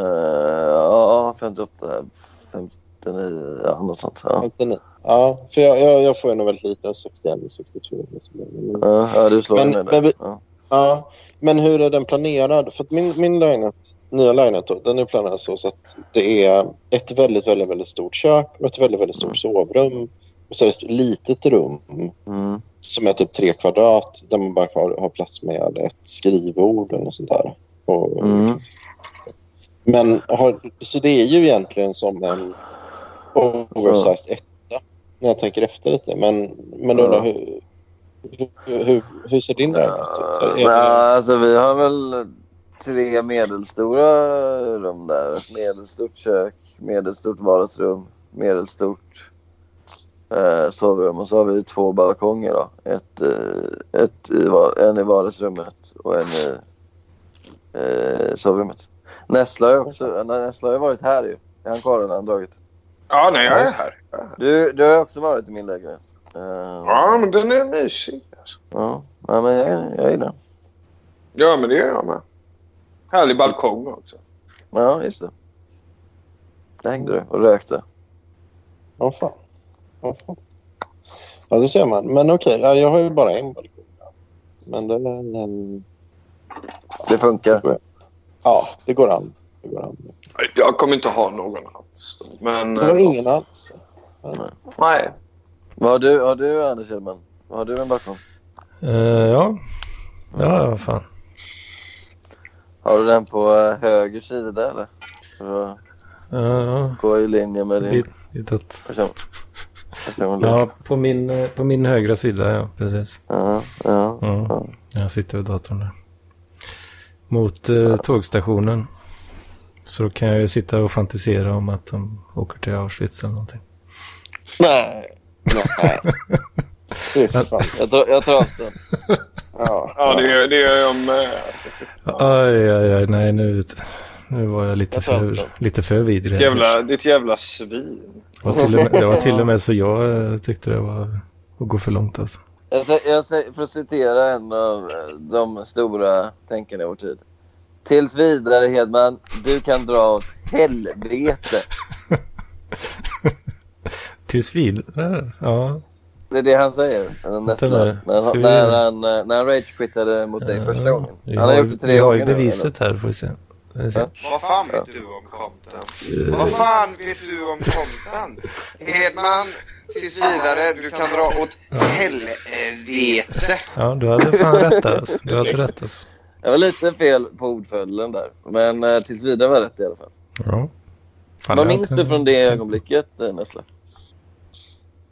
Ja, 58, 59, ja, något sånt. Ja.
59. Ja, för jag, jag, jag får en väldigt liten, 61 eller 62. liksom. Men-
Eh, Ja, ja, du slår
men,
den där.
men, vi-
Ja.
ja, men hur är den planerad? För att min, min lägenhet, nya lägenhet då, den är planerad så så att det är ett väldigt, väldigt, väldigt stort kök och ett väldigt, väldigt stort
Mm.
sovrum. Och så är det ett litet rum
Mm.
som är typ tre kvadrat där man bara har, har plats med ett skrivbord eller något sånt där. Och,
Mm.
Men har, så det är ju egentligen som en oversized etta när jag tänker efter lite. Men, men
Ja.
undrar hur, hur, hur, hur ser din lägenhet ut? Är
Ja,
det-
alltså, vi har väl tre medelstora rum där. Ett medelstort kök, medelstort vardagsrum, medelstort eh, sovrum. Och så har vi två balkonger. Då. Ett, eh, ett i, var- en i vardagsrummet och en i eh, sovrummet. Nessla har ju också- Nessla har ju varit här. Ju. Är han kvar eller har han dragit?
Ja, nej, jag är här.
Du, du har ju också varit i min lägenhet. Eh,
Ja, men den är mysig. alltså.
ja. ja, men jag, jag gillar den.
Ja, men det gör jag med. Härlig balkong också.
Ja, just det. Där hängde du och rökte.
Ja, fan. Ja, fan. Ja, det ser man. Men okej, ja, jag har ju bara en balkong.
Men det... Men...
Det funkar.
Ja, det går an. Det går an.
Jag kommer inte ha någon alls. Men...
Det var ingen alls.
Nej.
Vad har du, har du Anders Hedman? Vad har du en bakgrund?
Eh, ja. Ja, vad fan.
Har du den på eh, höger sida där eller? För att
Ja,
gå i linje med din...
Dit- ditåt.
person- personlighet.
ja på, min, eh, på min högra sida, ja. Precis.
Ja, ja,
ja. Jag sitter vid datorn där. Mot eh, tågstationen. Så då kan jag ju sitta och fantisera om att de åker till Auschwitz eller någonting.
Nej. Nej.
*laughs*
Fy fan.
Jag tar, jag tar avstånd.
Ja,
Ja, det gör, det gör jag med. Alltså, fy
Aj, aj, aj, nej nu, nu var jag lite för, lite för vidrig.
Ditt jävla, ditt jävla svin.
Det var, till och med, det var till och med så jag eh, tyckte det var att gå för långt alltså.
Jag, sä- jag, sä- för att citera en av eh, de stora tänkarna i vår tid. Tills vidare Hedman, du kan dra åt helvete.
Tills vidare, ja.
Det är det han säger. Han
Vänta
nästlar.
nu.
När
Ska
han,
vi-
när han, eh, när han ragequittade mot dig första gången.
Vi
Han har
ju-
gjort det
vi
tre
har ju
gånger nu,
beviset här får vi se. Får vi se.
Vad fan vet du om content?
Eh.
Vad fan vet du om content? Hedman, tills vidare, du kan dra åt helvete.
Ja, du hade fan rätt där alltså. Du hade rätt alltså.
Jag var lite fel på ordföljden där. Men eh, tills vidare var rätt i alla fall.
Ja. Fan,
Vad
jag
minns
hade-
du från det ögonblicket eh, Nessla?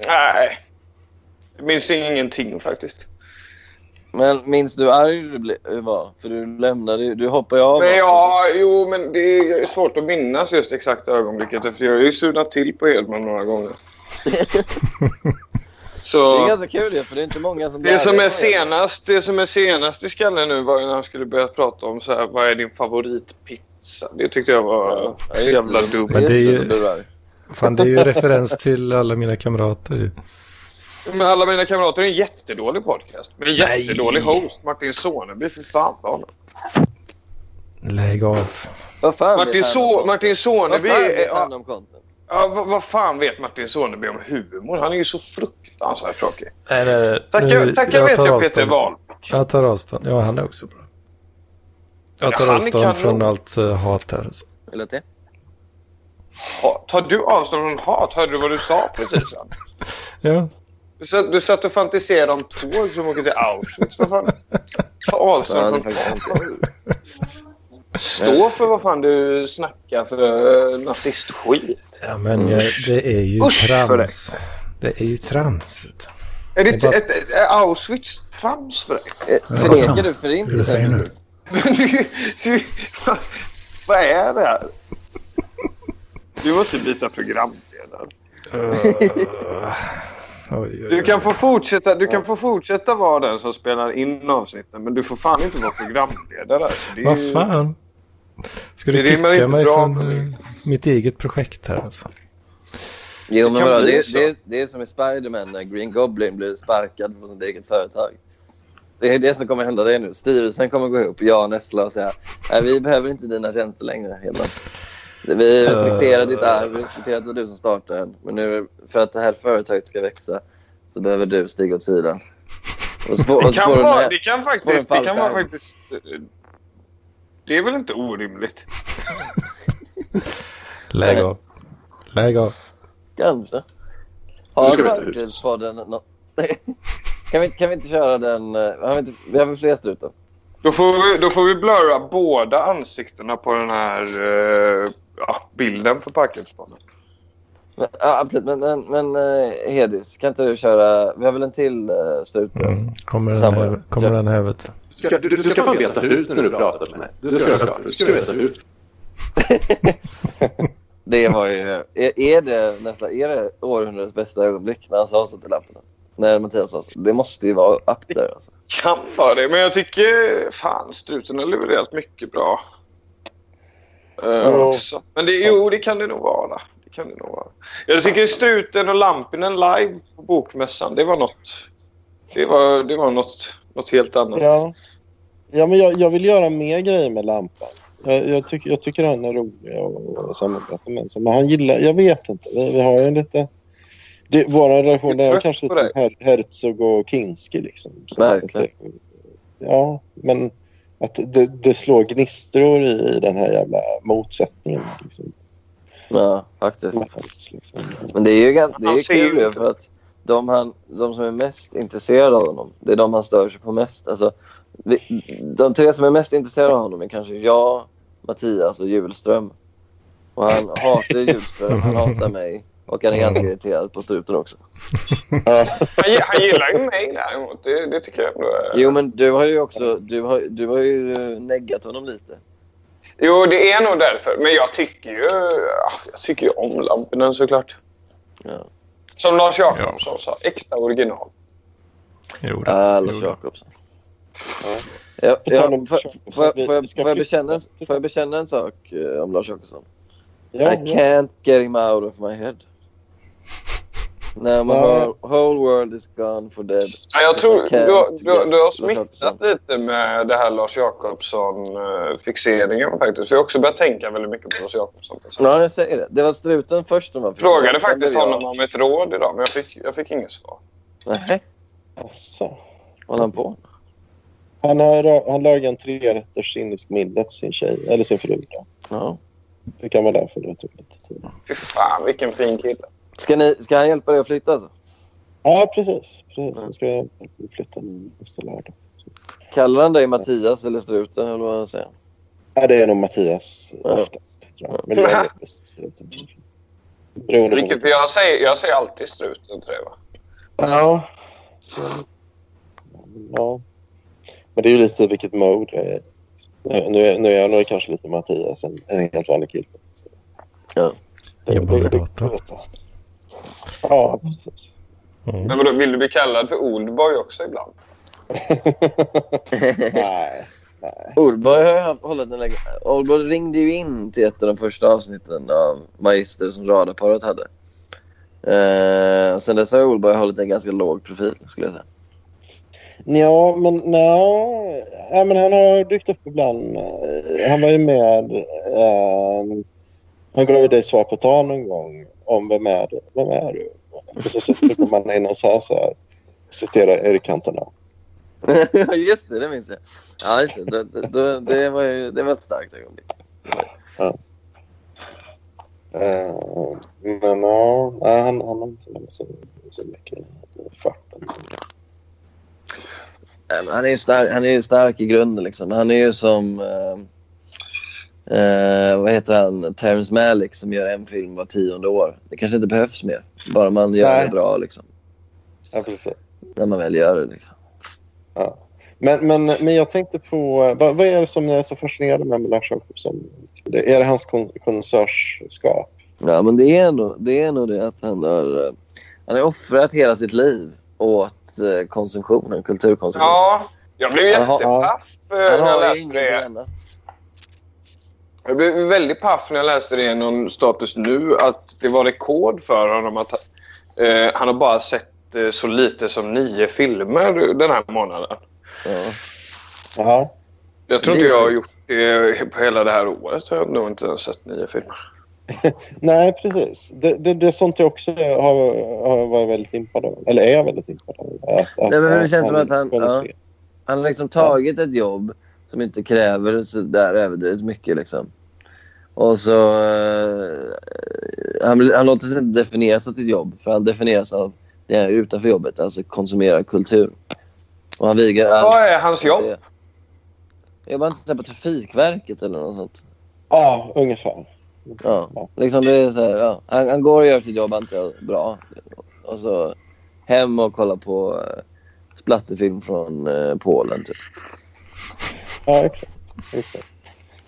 Nej. Jag minns ingenting faktiskt.
Men minns du hur arg du ble- var? För du lämnade ju- du hoppade ju av.
Men
också.
ja, jo, men det är svårt att minnas just exakta ögonblicket för jag har ju surnat till på Hedman några
*laughs*
gånger.
Det är
Så
ganska kul ju, för det är inte många som blir
det som,
arga
är
på Hedman.
senast, det som är senast i skallen nu var ju när han skulle börja prata om så här, vad är din favoritpizza. Det tyckte jag var så jävla dumt.
Men det är ju, fan, det är ju referens till alla mina kamrater ju.
Men alla mina kamrater är en jättedålig podcast. Men en jättedålig host. Martin Soneby, för fan ta honom.
Lägg av.
Vad fan
Martin,
vet han om
so Martin
Vad
Soneby...
fan vet
Ja,
han om content?
ja, vad, vad fan vet Martin Soneby om humor? Han är ju så fruktansvärt tråkig.
Nej, nej, nej.
Tacka-
Nu-
tacka
jag
vet
tar
jag
avstånd.
Peter Wahl.
Jag tar avstånd. Ja, han är också bra. Jag tar
Ja, han är
avstånd
kanon.
från allt eh, hat här. alltså.
Eller det?
Ha, tar du avstånd från hat? Hörde du vad du sa precis? Ann?
Ja.
Du satt, du satt och fantiserade om tåg som åker till Auschwitz. Vad fan? Ta
Ja, det
avstånd från
faktiskt
hat. Stå för vad fan du snackar för eh, nazistskit.
Ja, men eh, det är ju
Usch för
trams. Det är ju trams. vet
*laughs*
du.
Är det,
Det är bara-
ett, ett, är Auschwitz trams för dig?
Förnekar du förintelsen?
nu?
Men du, du, vad- *laughs* vad är det här? Du måste byta programledare.
Oj, oj,
Du
oj.
kan få fortsätta, du kan få fortsätta vara den som spelar in avsnitten men du får fan inte vara programledare. alltså. Det är ju-
Vad fan? Ska du
Det rimmar
kicka
inte
mig
bra
från
på
eh, mitt eget projekt här alltså?
Jo, men
kan
vadå?
bli
Det,
så.
det, det är som i Spiderman när Green Goblin blir sparkad från sitt eget företag. Det är det som kommer hända dig nu. Styrelsen kommer gå ihop, jag och Nessla, och säga nej, vi behöver inte dina tjänster längre. Hedman. Vi respekterar ditt arv, vi respekterar att det var du som startade den. Men nu, för att det här företaget ska växa så behöver du stiga åt sidan. Och så får-
Det
och så får
kan,
du den
vara,
här-
det kan
får du en
faktiskt... Det kan vara
fallskärm.
faktiskt... Det är väl inte orimligt?
Lägg av. Lägg av.
Kanske.
Nu
Har
ska vi ta ut.
Framtidspodden eh, nå- *laughs* kan, vi, kan vi inte köra den? eh, Har vi, inte, vi har väl fler strutar?
Då får, vi, då får vi blurra båda ansiktena på den här eh, ja, bilden för parkeringsbanan.
Men, ja, absolut. Men, men, men eh, Hedis, kan inte du köra... Vi har väl en till uh, strut?
Mm. Kommer den
Samma.
här, kommer den här vet du.
Ska, du, du ska fan veta hut när du pratar med mig. Du ska, du ska, du veta hut.
Det var ju... Är, är, det, nästan, är det århundradets bästa ögonblick när han sa så till lamporna? När Mattias sa så. Det måste ju vara up där alltså.
Kan vara det, men jag tycker fan struten har levererat mycket bra. Eh,
Ja.
också. Men det, jo, det kan det nog vara. Det kan det nog vara. Jag tycker struten och Lampinen live på bokmässan, det var något... Det var, det var något, något helt annat.
Ja. ja men jag, jag vill göra mer grejer med lampan. Jag, jag, tycker, jag tycker han är rolig att samarbeta med. Så, Men han gillar... Jag vet inte. Vi, vi har ju lite... Det, vår relation
Jag är
är
trött
kanske typ
på
till Her, Herzog och Kinski. Liksom. Så
Verkligen.
att det-
ja, men att det, det slår gnistror i den här jävla motsättningen. Liksom.
Ja, faktiskt. Men det är ju, gan- det är
Han
ju
ser ju
kul ju
inte.
för att de, han, de som är mest intresserade av honom, det är de han stör sig på mest. Alltså, vi, de tre som är mest intresserade av honom är kanske jag, Mattias och Julström. Och
*laughs*
han hatar Julström, han hatar mig och han är ganska
Mm.
irriterad på struten också.
Han, gi- han gillar ju mig däremot. Det, det tycker jag ändå är...
Jo, men du har ju också du har, du har ju eh, neggat honom lite.
Jo, det är nog därför. Men jag tycker ju, ah, jag tycker ju om Lampinen såklart. Som Lars Jakobsson sa, äkta original.
Jo,
Ah, Lars Jakobsson. Ja,
På tal
ja,
om-
får, får, jag- får, jag-
vi ska
får, jag
flytta-
bekänna, en- får jag bekänna en sak eh, om Lars Åkesson?
Ja,
I
ja.
can't get him out of my head. Now my
Ja.
whole, whole world is gone for dead.
Ja, jag tror
I can't
du, har- du, har-
get
du har
Lars Åkesson.
smittat lite med det här Lars Jakobsson-fixeringen faktiskt. Jag har också börjat tänka väldigt mycket på Lars Jakobsson.
Ja, jag säger det. Det var struten först som var
Jag frågade
Sen
faktiskt
blev jag-
honom om ett råd idag, men jag fick, jag fick inget svar.
Nej.
Alltså.
Håller han på?
Han, har, han lagar en trerätters indisk middag till sin tjej, eller sin fru. Då.
Ja.
Det kan vara därför det tog lite tid.
Fy fan, vilken fin kille.
Ska, ni, ska han hjälpa dig att flytta? Alltså?
Ja, precis. precis. Jag ska flytta nästa lördag.
Kallar han dig Mattias eller struten? Eller vad han säger?
Ja, det är nog Mattias oftast. Tror jag. Men det
*laughs*
är beroende på.
Vilket jag säger, jag säger alltid struten tror jag. va?
Ja. ja. Men det är ju lite vilket mode jag är i. Nu, nu, är- nu är jag nog kanske lite Mattias, en, en helt vanlig kille. Så.
Ja.
Jobbar med data.
Ja, precis.
Men vadå, vill du bli kallad för Oldboy också ibland?
Nej.
Oldboy har ju haft- hållit en länge. Oldboy ringde ju in till ett av de första avsnitten av Magister som radarparet hade. Eh, och sen dess har Oldboy hållit en ganska låg profil skulle jag säga. *laughs*
Ja, men, nej. ja, men han har dykt upp ibland. Han var ju med... ehm, han gav ju dig svar på tal någon gång om vem är du? Vem är du? Och så sitter man in och så här, så här citerar Erik Cantona.
just det, det minns jag. Ja, just det. Det, det, det, det, var, ju, det var ett starkt ögonblick.
Ja. Eh, men ja, nej, han, han har inte varit så, så mycket i farten.
Nej, men Han är ju stark, han är ju stark i grunden. Liksom. Han är ju som... Eh, eh, vad heter han? Terrence Malick som gör en film var tionde år. Det kanske inte behövs mer. Bara man gör
Nej.
det bra. Liksom.
Ja, precis.
När man väl gör det. Liksom.
Ja. Men, men, men jag tänkte på... eh, Vad, vad är det som ni är så fascinerade med med Lars Jacobsson? Det, är det hans kon, konnässörsskap?
Ja, men det är, nog, det är nog det att han har, eh, han har offrat hela sitt liv åt eh, konsumtionen, kulturkonsumtionen.
Ja, jag blev
Han har-
jättepaff eh, när
Han
jag
har ju
läste det. Jag blev väldigt paff när jag läste det i någon status nu att det var rekord för honom att eh, han har bara sett eh, så lite som nio filmer den här månaden.
Ja.
Ja.
Jag tror inte jag har gjort det på hela det här året. Jag har nog inte ens sett nio filmer.
Nej, precis. Det, det, det är sånt jag också har, har varit väldigt impad av. Eller är jag väldigt impad av. Att- att
Nej, men det känns som
han
att han,
kunde
ja,
se.
han har liksom tagit ett jobb som inte kräver så där överdrivet mycket. Liksom. Och så, eh, han, han låter sig inte definieras av sitt jobb, för han definieras av det han gör utanför jobbet, alltså konsumerar kultur. Och han vigar allt.
Vad är eh, hans jobb?
Jobbar han inte så här på Trafikverket eller något sånt?
Ja, ungefär.
Ja, liksom det är så här, ja. han, han går och gör sitt jobb antar jag, bra. Och så hem och kolla på eh, splatterfilm från eh, Polen. Typ.
Ja, exakt. exakt.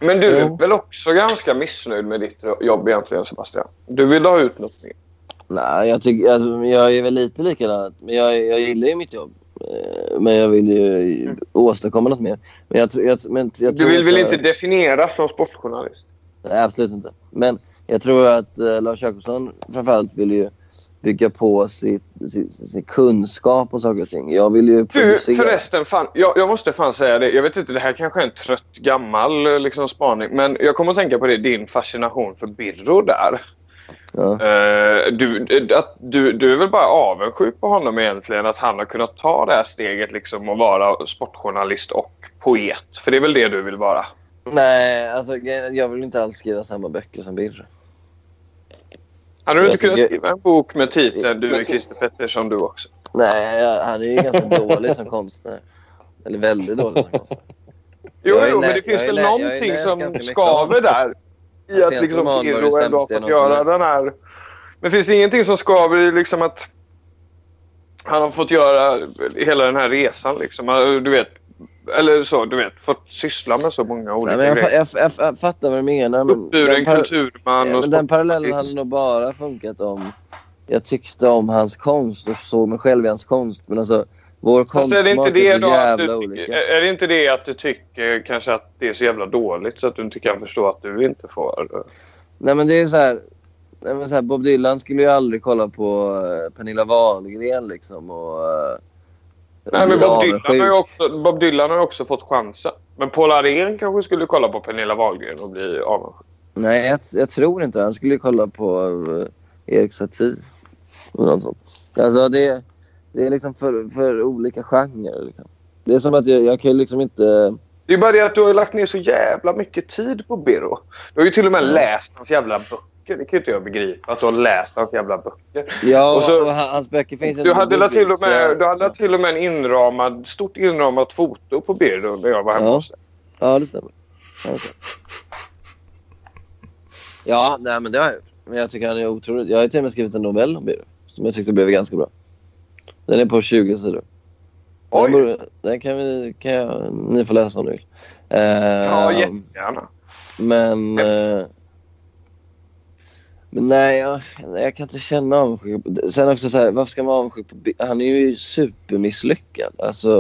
Men du är väl också ganska missnöjd med ditt jobb egentligen, Sebastian? Du vill ha ut något mer?
Nej, jag, tycker, alltså, jag är väl lite likadan. Men jag, jag gillar ju mitt jobb. Eh, Men jag vill ju åstadkomma något mer. Men jag, tror- jag, men jag
Du
tror
vill
så
väl
här-
inte definieras som sportjournalist?
Nej, absolut inte. Men jag tror att eh, Lars Jacobsson framförallt vill ju bygga på sitt, sin, sin kunskap och saker och ting. Jag vill ju
Du,
producera.
förresten. Fan, jag, jag måste fan säga det. Jag vet inte, det här kanske är en trött gammal eh, liksom, spaning. Men jag kommer att tänka på det, din fascination för Birro där.
Eh,
du, eh, att du, du är väl bara avundsjuk på honom egentligen att han har kunnat ta det här steget liksom och vara sportjournalist och poet. För det är väl det du vill vara?
Nej, alltså grejen- jag vill inte alls skriva samma böcker som Birre.
Hade du
Jag
inte kunnat
tycker-
skriva en bok med titeln Du är Christer Pettersson du också?
Nej, jag- han är ju ganska dålig som konstnär. Eller väldigt dålig som konstnär.
Jo,
Jag är
jo
nä-
men det finns
jag
väl
är nä- jag är
någonting
nä-
som
ganska mycket
skaver
av-
där. I
Hans
att
Jens
liksom
Roman var ju
Pirro ändå har
sämst
fått
genom
göra
semester.
den här... Men finns det ingenting som skaver i liksom att han har fått göra hela den här resan liksom? Du vet, eller så, du vet, fått syssla med så många olika
Nej, men jag, fa-
grejer.
jag, jag, jag fattar vad du menar. Men
Uppburen
den par-
kulturman
Ja,
och
men den parallellen
sportartist.
hade nog bara funkat om jag tyckte om hans konst och såg mig själv i hans konst. Men alltså, vår
Fast är det
konstsmak
inte
är,
det
så
då att
jävla
du,
olika.
tycker- är det inte det att du tycker kanske att det är så jävla dåligt så att du inte kan förstå att du inte får... eh,
Nej, men det är så här, nej, men så här, Bob Dylan skulle ju aldrig kolla på eh, Pernilla Wahlgren liksom. Och, eh,
Nej, men
bli
Bob Dylan, har
avundsjuk.
ju också, Bob Dylan har ju också fått chansen. Men Paul Arén kanske skulle kolla på Pernilla Wahlgren och bli avundsjuk.
Nej, jag, jag tror inte Han skulle ju kolla på eh, Erik Satie. och något sånt. Alltså, det, det är liksom för, för olika genrer. Liksom. Det är som att jag, jag kan ju liksom inte...
Det är bara det att du har ju lagt ner så jävla mycket tid på Birro. Du har ju till och med läst hans jävla böcker. Det kan ju inte jag begripa, att du har läst hans jävla böcker.
Ja,
Och
och,
så-
han- hans böcker finns
Du hade,
på
la till och
Goodreads,
med,
så-
du hade la till och med en inramad, stort inramat foto på Birro när jag var hemma
Ja.
hos dig.
Ja, det stämmer. Ja, okej. Ja, nej, men det har jag gjort. Men jag tycker han är otroligt... Jag har ju till och med skrivit en novell om Birro som jag tyckte blev ganska bra. Den är på 20 sidor. Den, borde, den kan, vi, kan jag, ni få läsa om ni vill. Eh,
Ja, jättegärna.
Men... eh, men nej, jag, nej, jag kan inte känna avundsjuka. på- Sen också så här, varför ska man vara avundsjuk på Bi- Han är ju supermisslyckad. Alltså...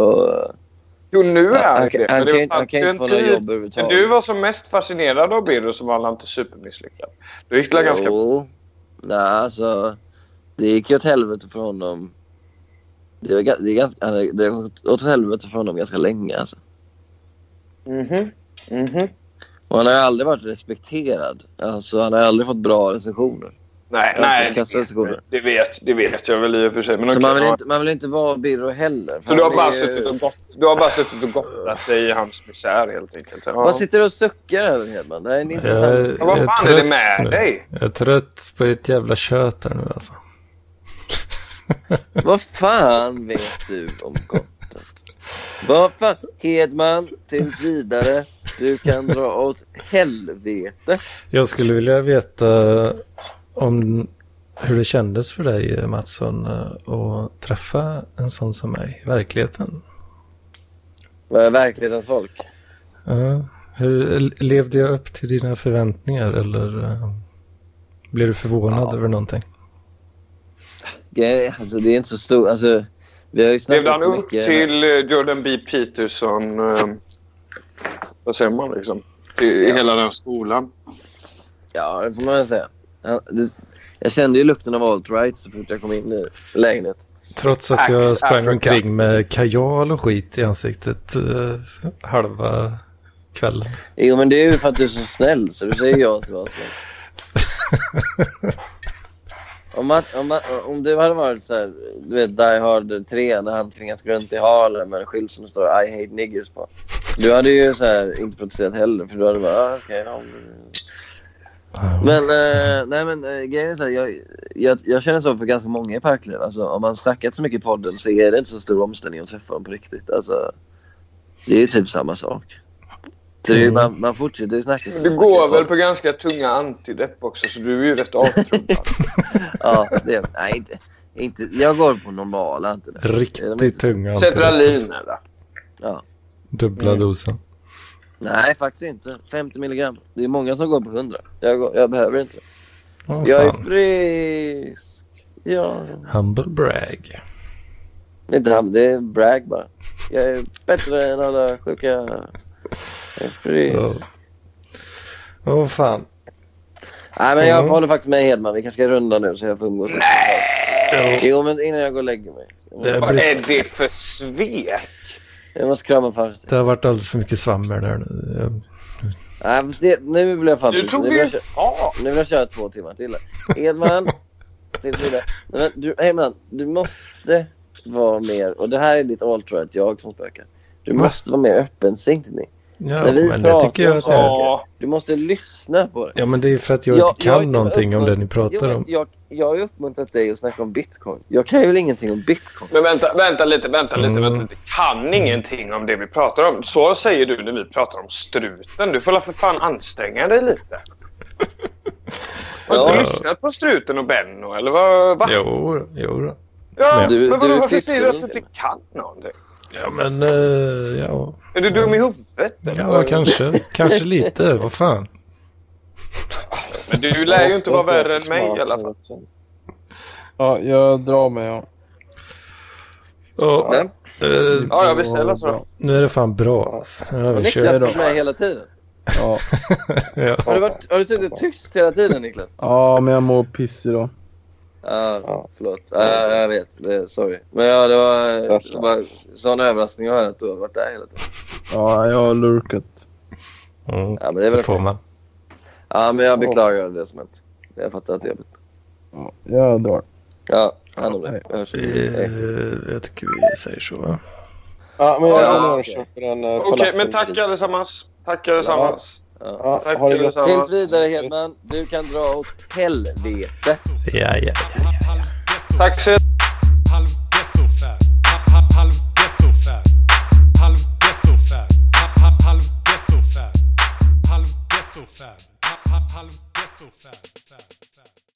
Jo, nu är han
Han- han
ju
kan-
det.
han
Men det
kan inte-
fanns
han kan
ju
inte
en
få några
tid-
jobb
Men
överhuvudtaget.
du var som mest fascinerad av Birro så var han inte supermisslyckad. Du gick väl ganska...
Jo. Nej, alltså. Det gick ju åt helvete för honom. Det, var, ga- det, är ganska, han är- det har gått åt helvete för honom ganska länge. Alltså.
Mhm. Mhm.
Och han har ju aldrig varit respekterad. Alltså, han har aldrig fått bra recensioner.
Nej,
Han har
nej.
fått kassarecensioner.
Det vet, det vet jag väl i och för sig. Men
Så
okej,
man vill,
ja.
inte, man vill inte vara Birro heller. för
Så du har,
han
bara
är ju-
suttit och gott, du har bara suttit och gottat dig i hans misär helt enkelt? Ja.
Vad sitter du och suckar över Hedman? Det här är en
Jag,
intressant...
Ja, vad
jag
fan är
trött
det med
nu.
dig?
Jag är trött på ett jävla kött här nu alltså.
Vad fan vet du om gottet? Vad fan? Hedman, tills vidare. Du kan dra åt helvete.
Jag skulle vilja veta om hur det kändes för dig Mattsson eh, att träffa en sån som mig i verkligheten.
Vad är verklighetens folk?
Ja, hur, levde jag upp till dina förväntningar eller eh, blev du förvånad över någonting?
Grej, Alltså, det är inte så stor... Alltså, vi har ju
Levde
snackat
han
så
upp
mycket.
till eh, Jordan B. Peterson? eh, Vad säger man liksom? I, i hela den skolan?
Ja, det får man väl säga. Han, det, jag kände ju lukten av alt-right så fort jag kom in i lägenheten.
Trots att jag sprang omkring med kajal och skit i ansiktet eh, halva kvällen.
Jo, men det är ju för att du är så snäll så du säger ja till allt. Om, Mats- om, Mats- om du hade varit så här, du vet Die Hard 3 när han tvingas gå runt i Harlem med en skylt som det står I hate niggers på. Du hade ju så här, inte protesterat heller för du hade bara ah, okej. ja, men- men eh, nej men eh, grejen är så här, jag, jag, jag känner så för ganska många i Parkliv. Alltså, om man snackat så mycket i podden så är det inte så stor omställning att träffa dem på riktigt. Alltså, det är ju typ samma sak. Så det är ju,
Mm.
man, man fortsätter ju snacka.
Du går väl på ganska tunga antidepp också så du är ju rätt avtrubbad.
*laughs* Ja, det, nej, inte, inte. Jag går på normala. Inte det.
Riktigt typ. tunga.
Cetralin, eller? Ja.
Dubbla
Mm.
dosen.
Nej, faktiskt inte. 50 milligram. Det är många som går på 100. Jag, går, jag behöver inte det.
Åh,
jag är
fan.
frisk. Ja.
Humble brag.
Det är, inte, ham- det är brag bara. Jag är bättre än alla sjuka. Jag är frisk.
Åh Åh, fan.
Nej, men jag
Mm.
håller faktiskt med Hedman. Vi kanske ska runda nu så jag får umgås. Nej! Jo, men innan jag går och lägger mig.
Det Vad blir- är
det för svek?
Jag måste krama farsan.
Det har varit alldeles för mycket svammel där nu. Jag-
Nej, men det, nu blir jag fan...
Du
nu
tog
blir
ju
jag kö-
fart!
Nu vill jag köra två timmar till. här. Edman, tills vidare. Nej, men du, Edman, du måste vara mer, och det här är ditt alt-right jag som spökar. Du måste vara mer öppensinnig.
Ja,
När vi
men det
pratar
tycker jag
om
att jag är.
saker, Du måste lyssna på det.
Ja, men det är för att jag inte
har
kan någonting om det ni pratar
typ Jo, men
om.
Jag, jag har ju uppmuntrat dig att snacka om bitcoin. Jag kan ju väl ingenting om bitcoin?
Men vänta, vänta lite, vänta lite, vänta lite. Kan ingenting om det vi pratar om. Så säger du när vi pratar om struten. Du får la för fan anstränga dig lite. Har du
Ja.
lyssnat på struten och Benno eller vad? Va?
Jo, jo då.
Ja,
Men-
men vadå, varför säger du att du inte kan någonting?
Ja, men eh, ja.
Är du dum i huvudet?
ja, kanske. Kanske
*laughs*
lite. Vad fan.
Men du lär ju inte vara värre
alltså
än mig i alla fall.
Ja, jag drar mig. Ja.
Ja, eh,
Ja, jag beställer så då.
Nu är det fan bra alltså. Ja,
Har
vi
Niklas
kör
varit med hela tiden?
Ja.
ja.
Har du, varit, har du suttit tyst hela tiden Niklas?
ja, men jag mår piss idag.
Ja, förlåt. Ja, jag vet. Det, sorry. Men ja, det var det var en sån överraskning jag hörde att du har varit där hela tiden.
Ja, jag har lurkat.
Ja, men det är väl det får
man.
Ja, men jag beklagar det som hänt. Jag fattar att det är jobbigt.
Jag drar.
Ja, hand om det. Jag hörs. Hej.
Eh, jag tycker vi säger så. va?
Ja, men jag
Ja,
går ner och
okej.
köper en eh,
Okej,
falafel.
men tack allesammans. Tack allesammans.
Ja.
Tack
ha det gött.
allesammans.
Tills vidare Hedman, du kan dra åt helvete.
Ja, ja.
Tack så
Halv ghetto-fab. Halv ghetto-fab. Halv ghetto-fab.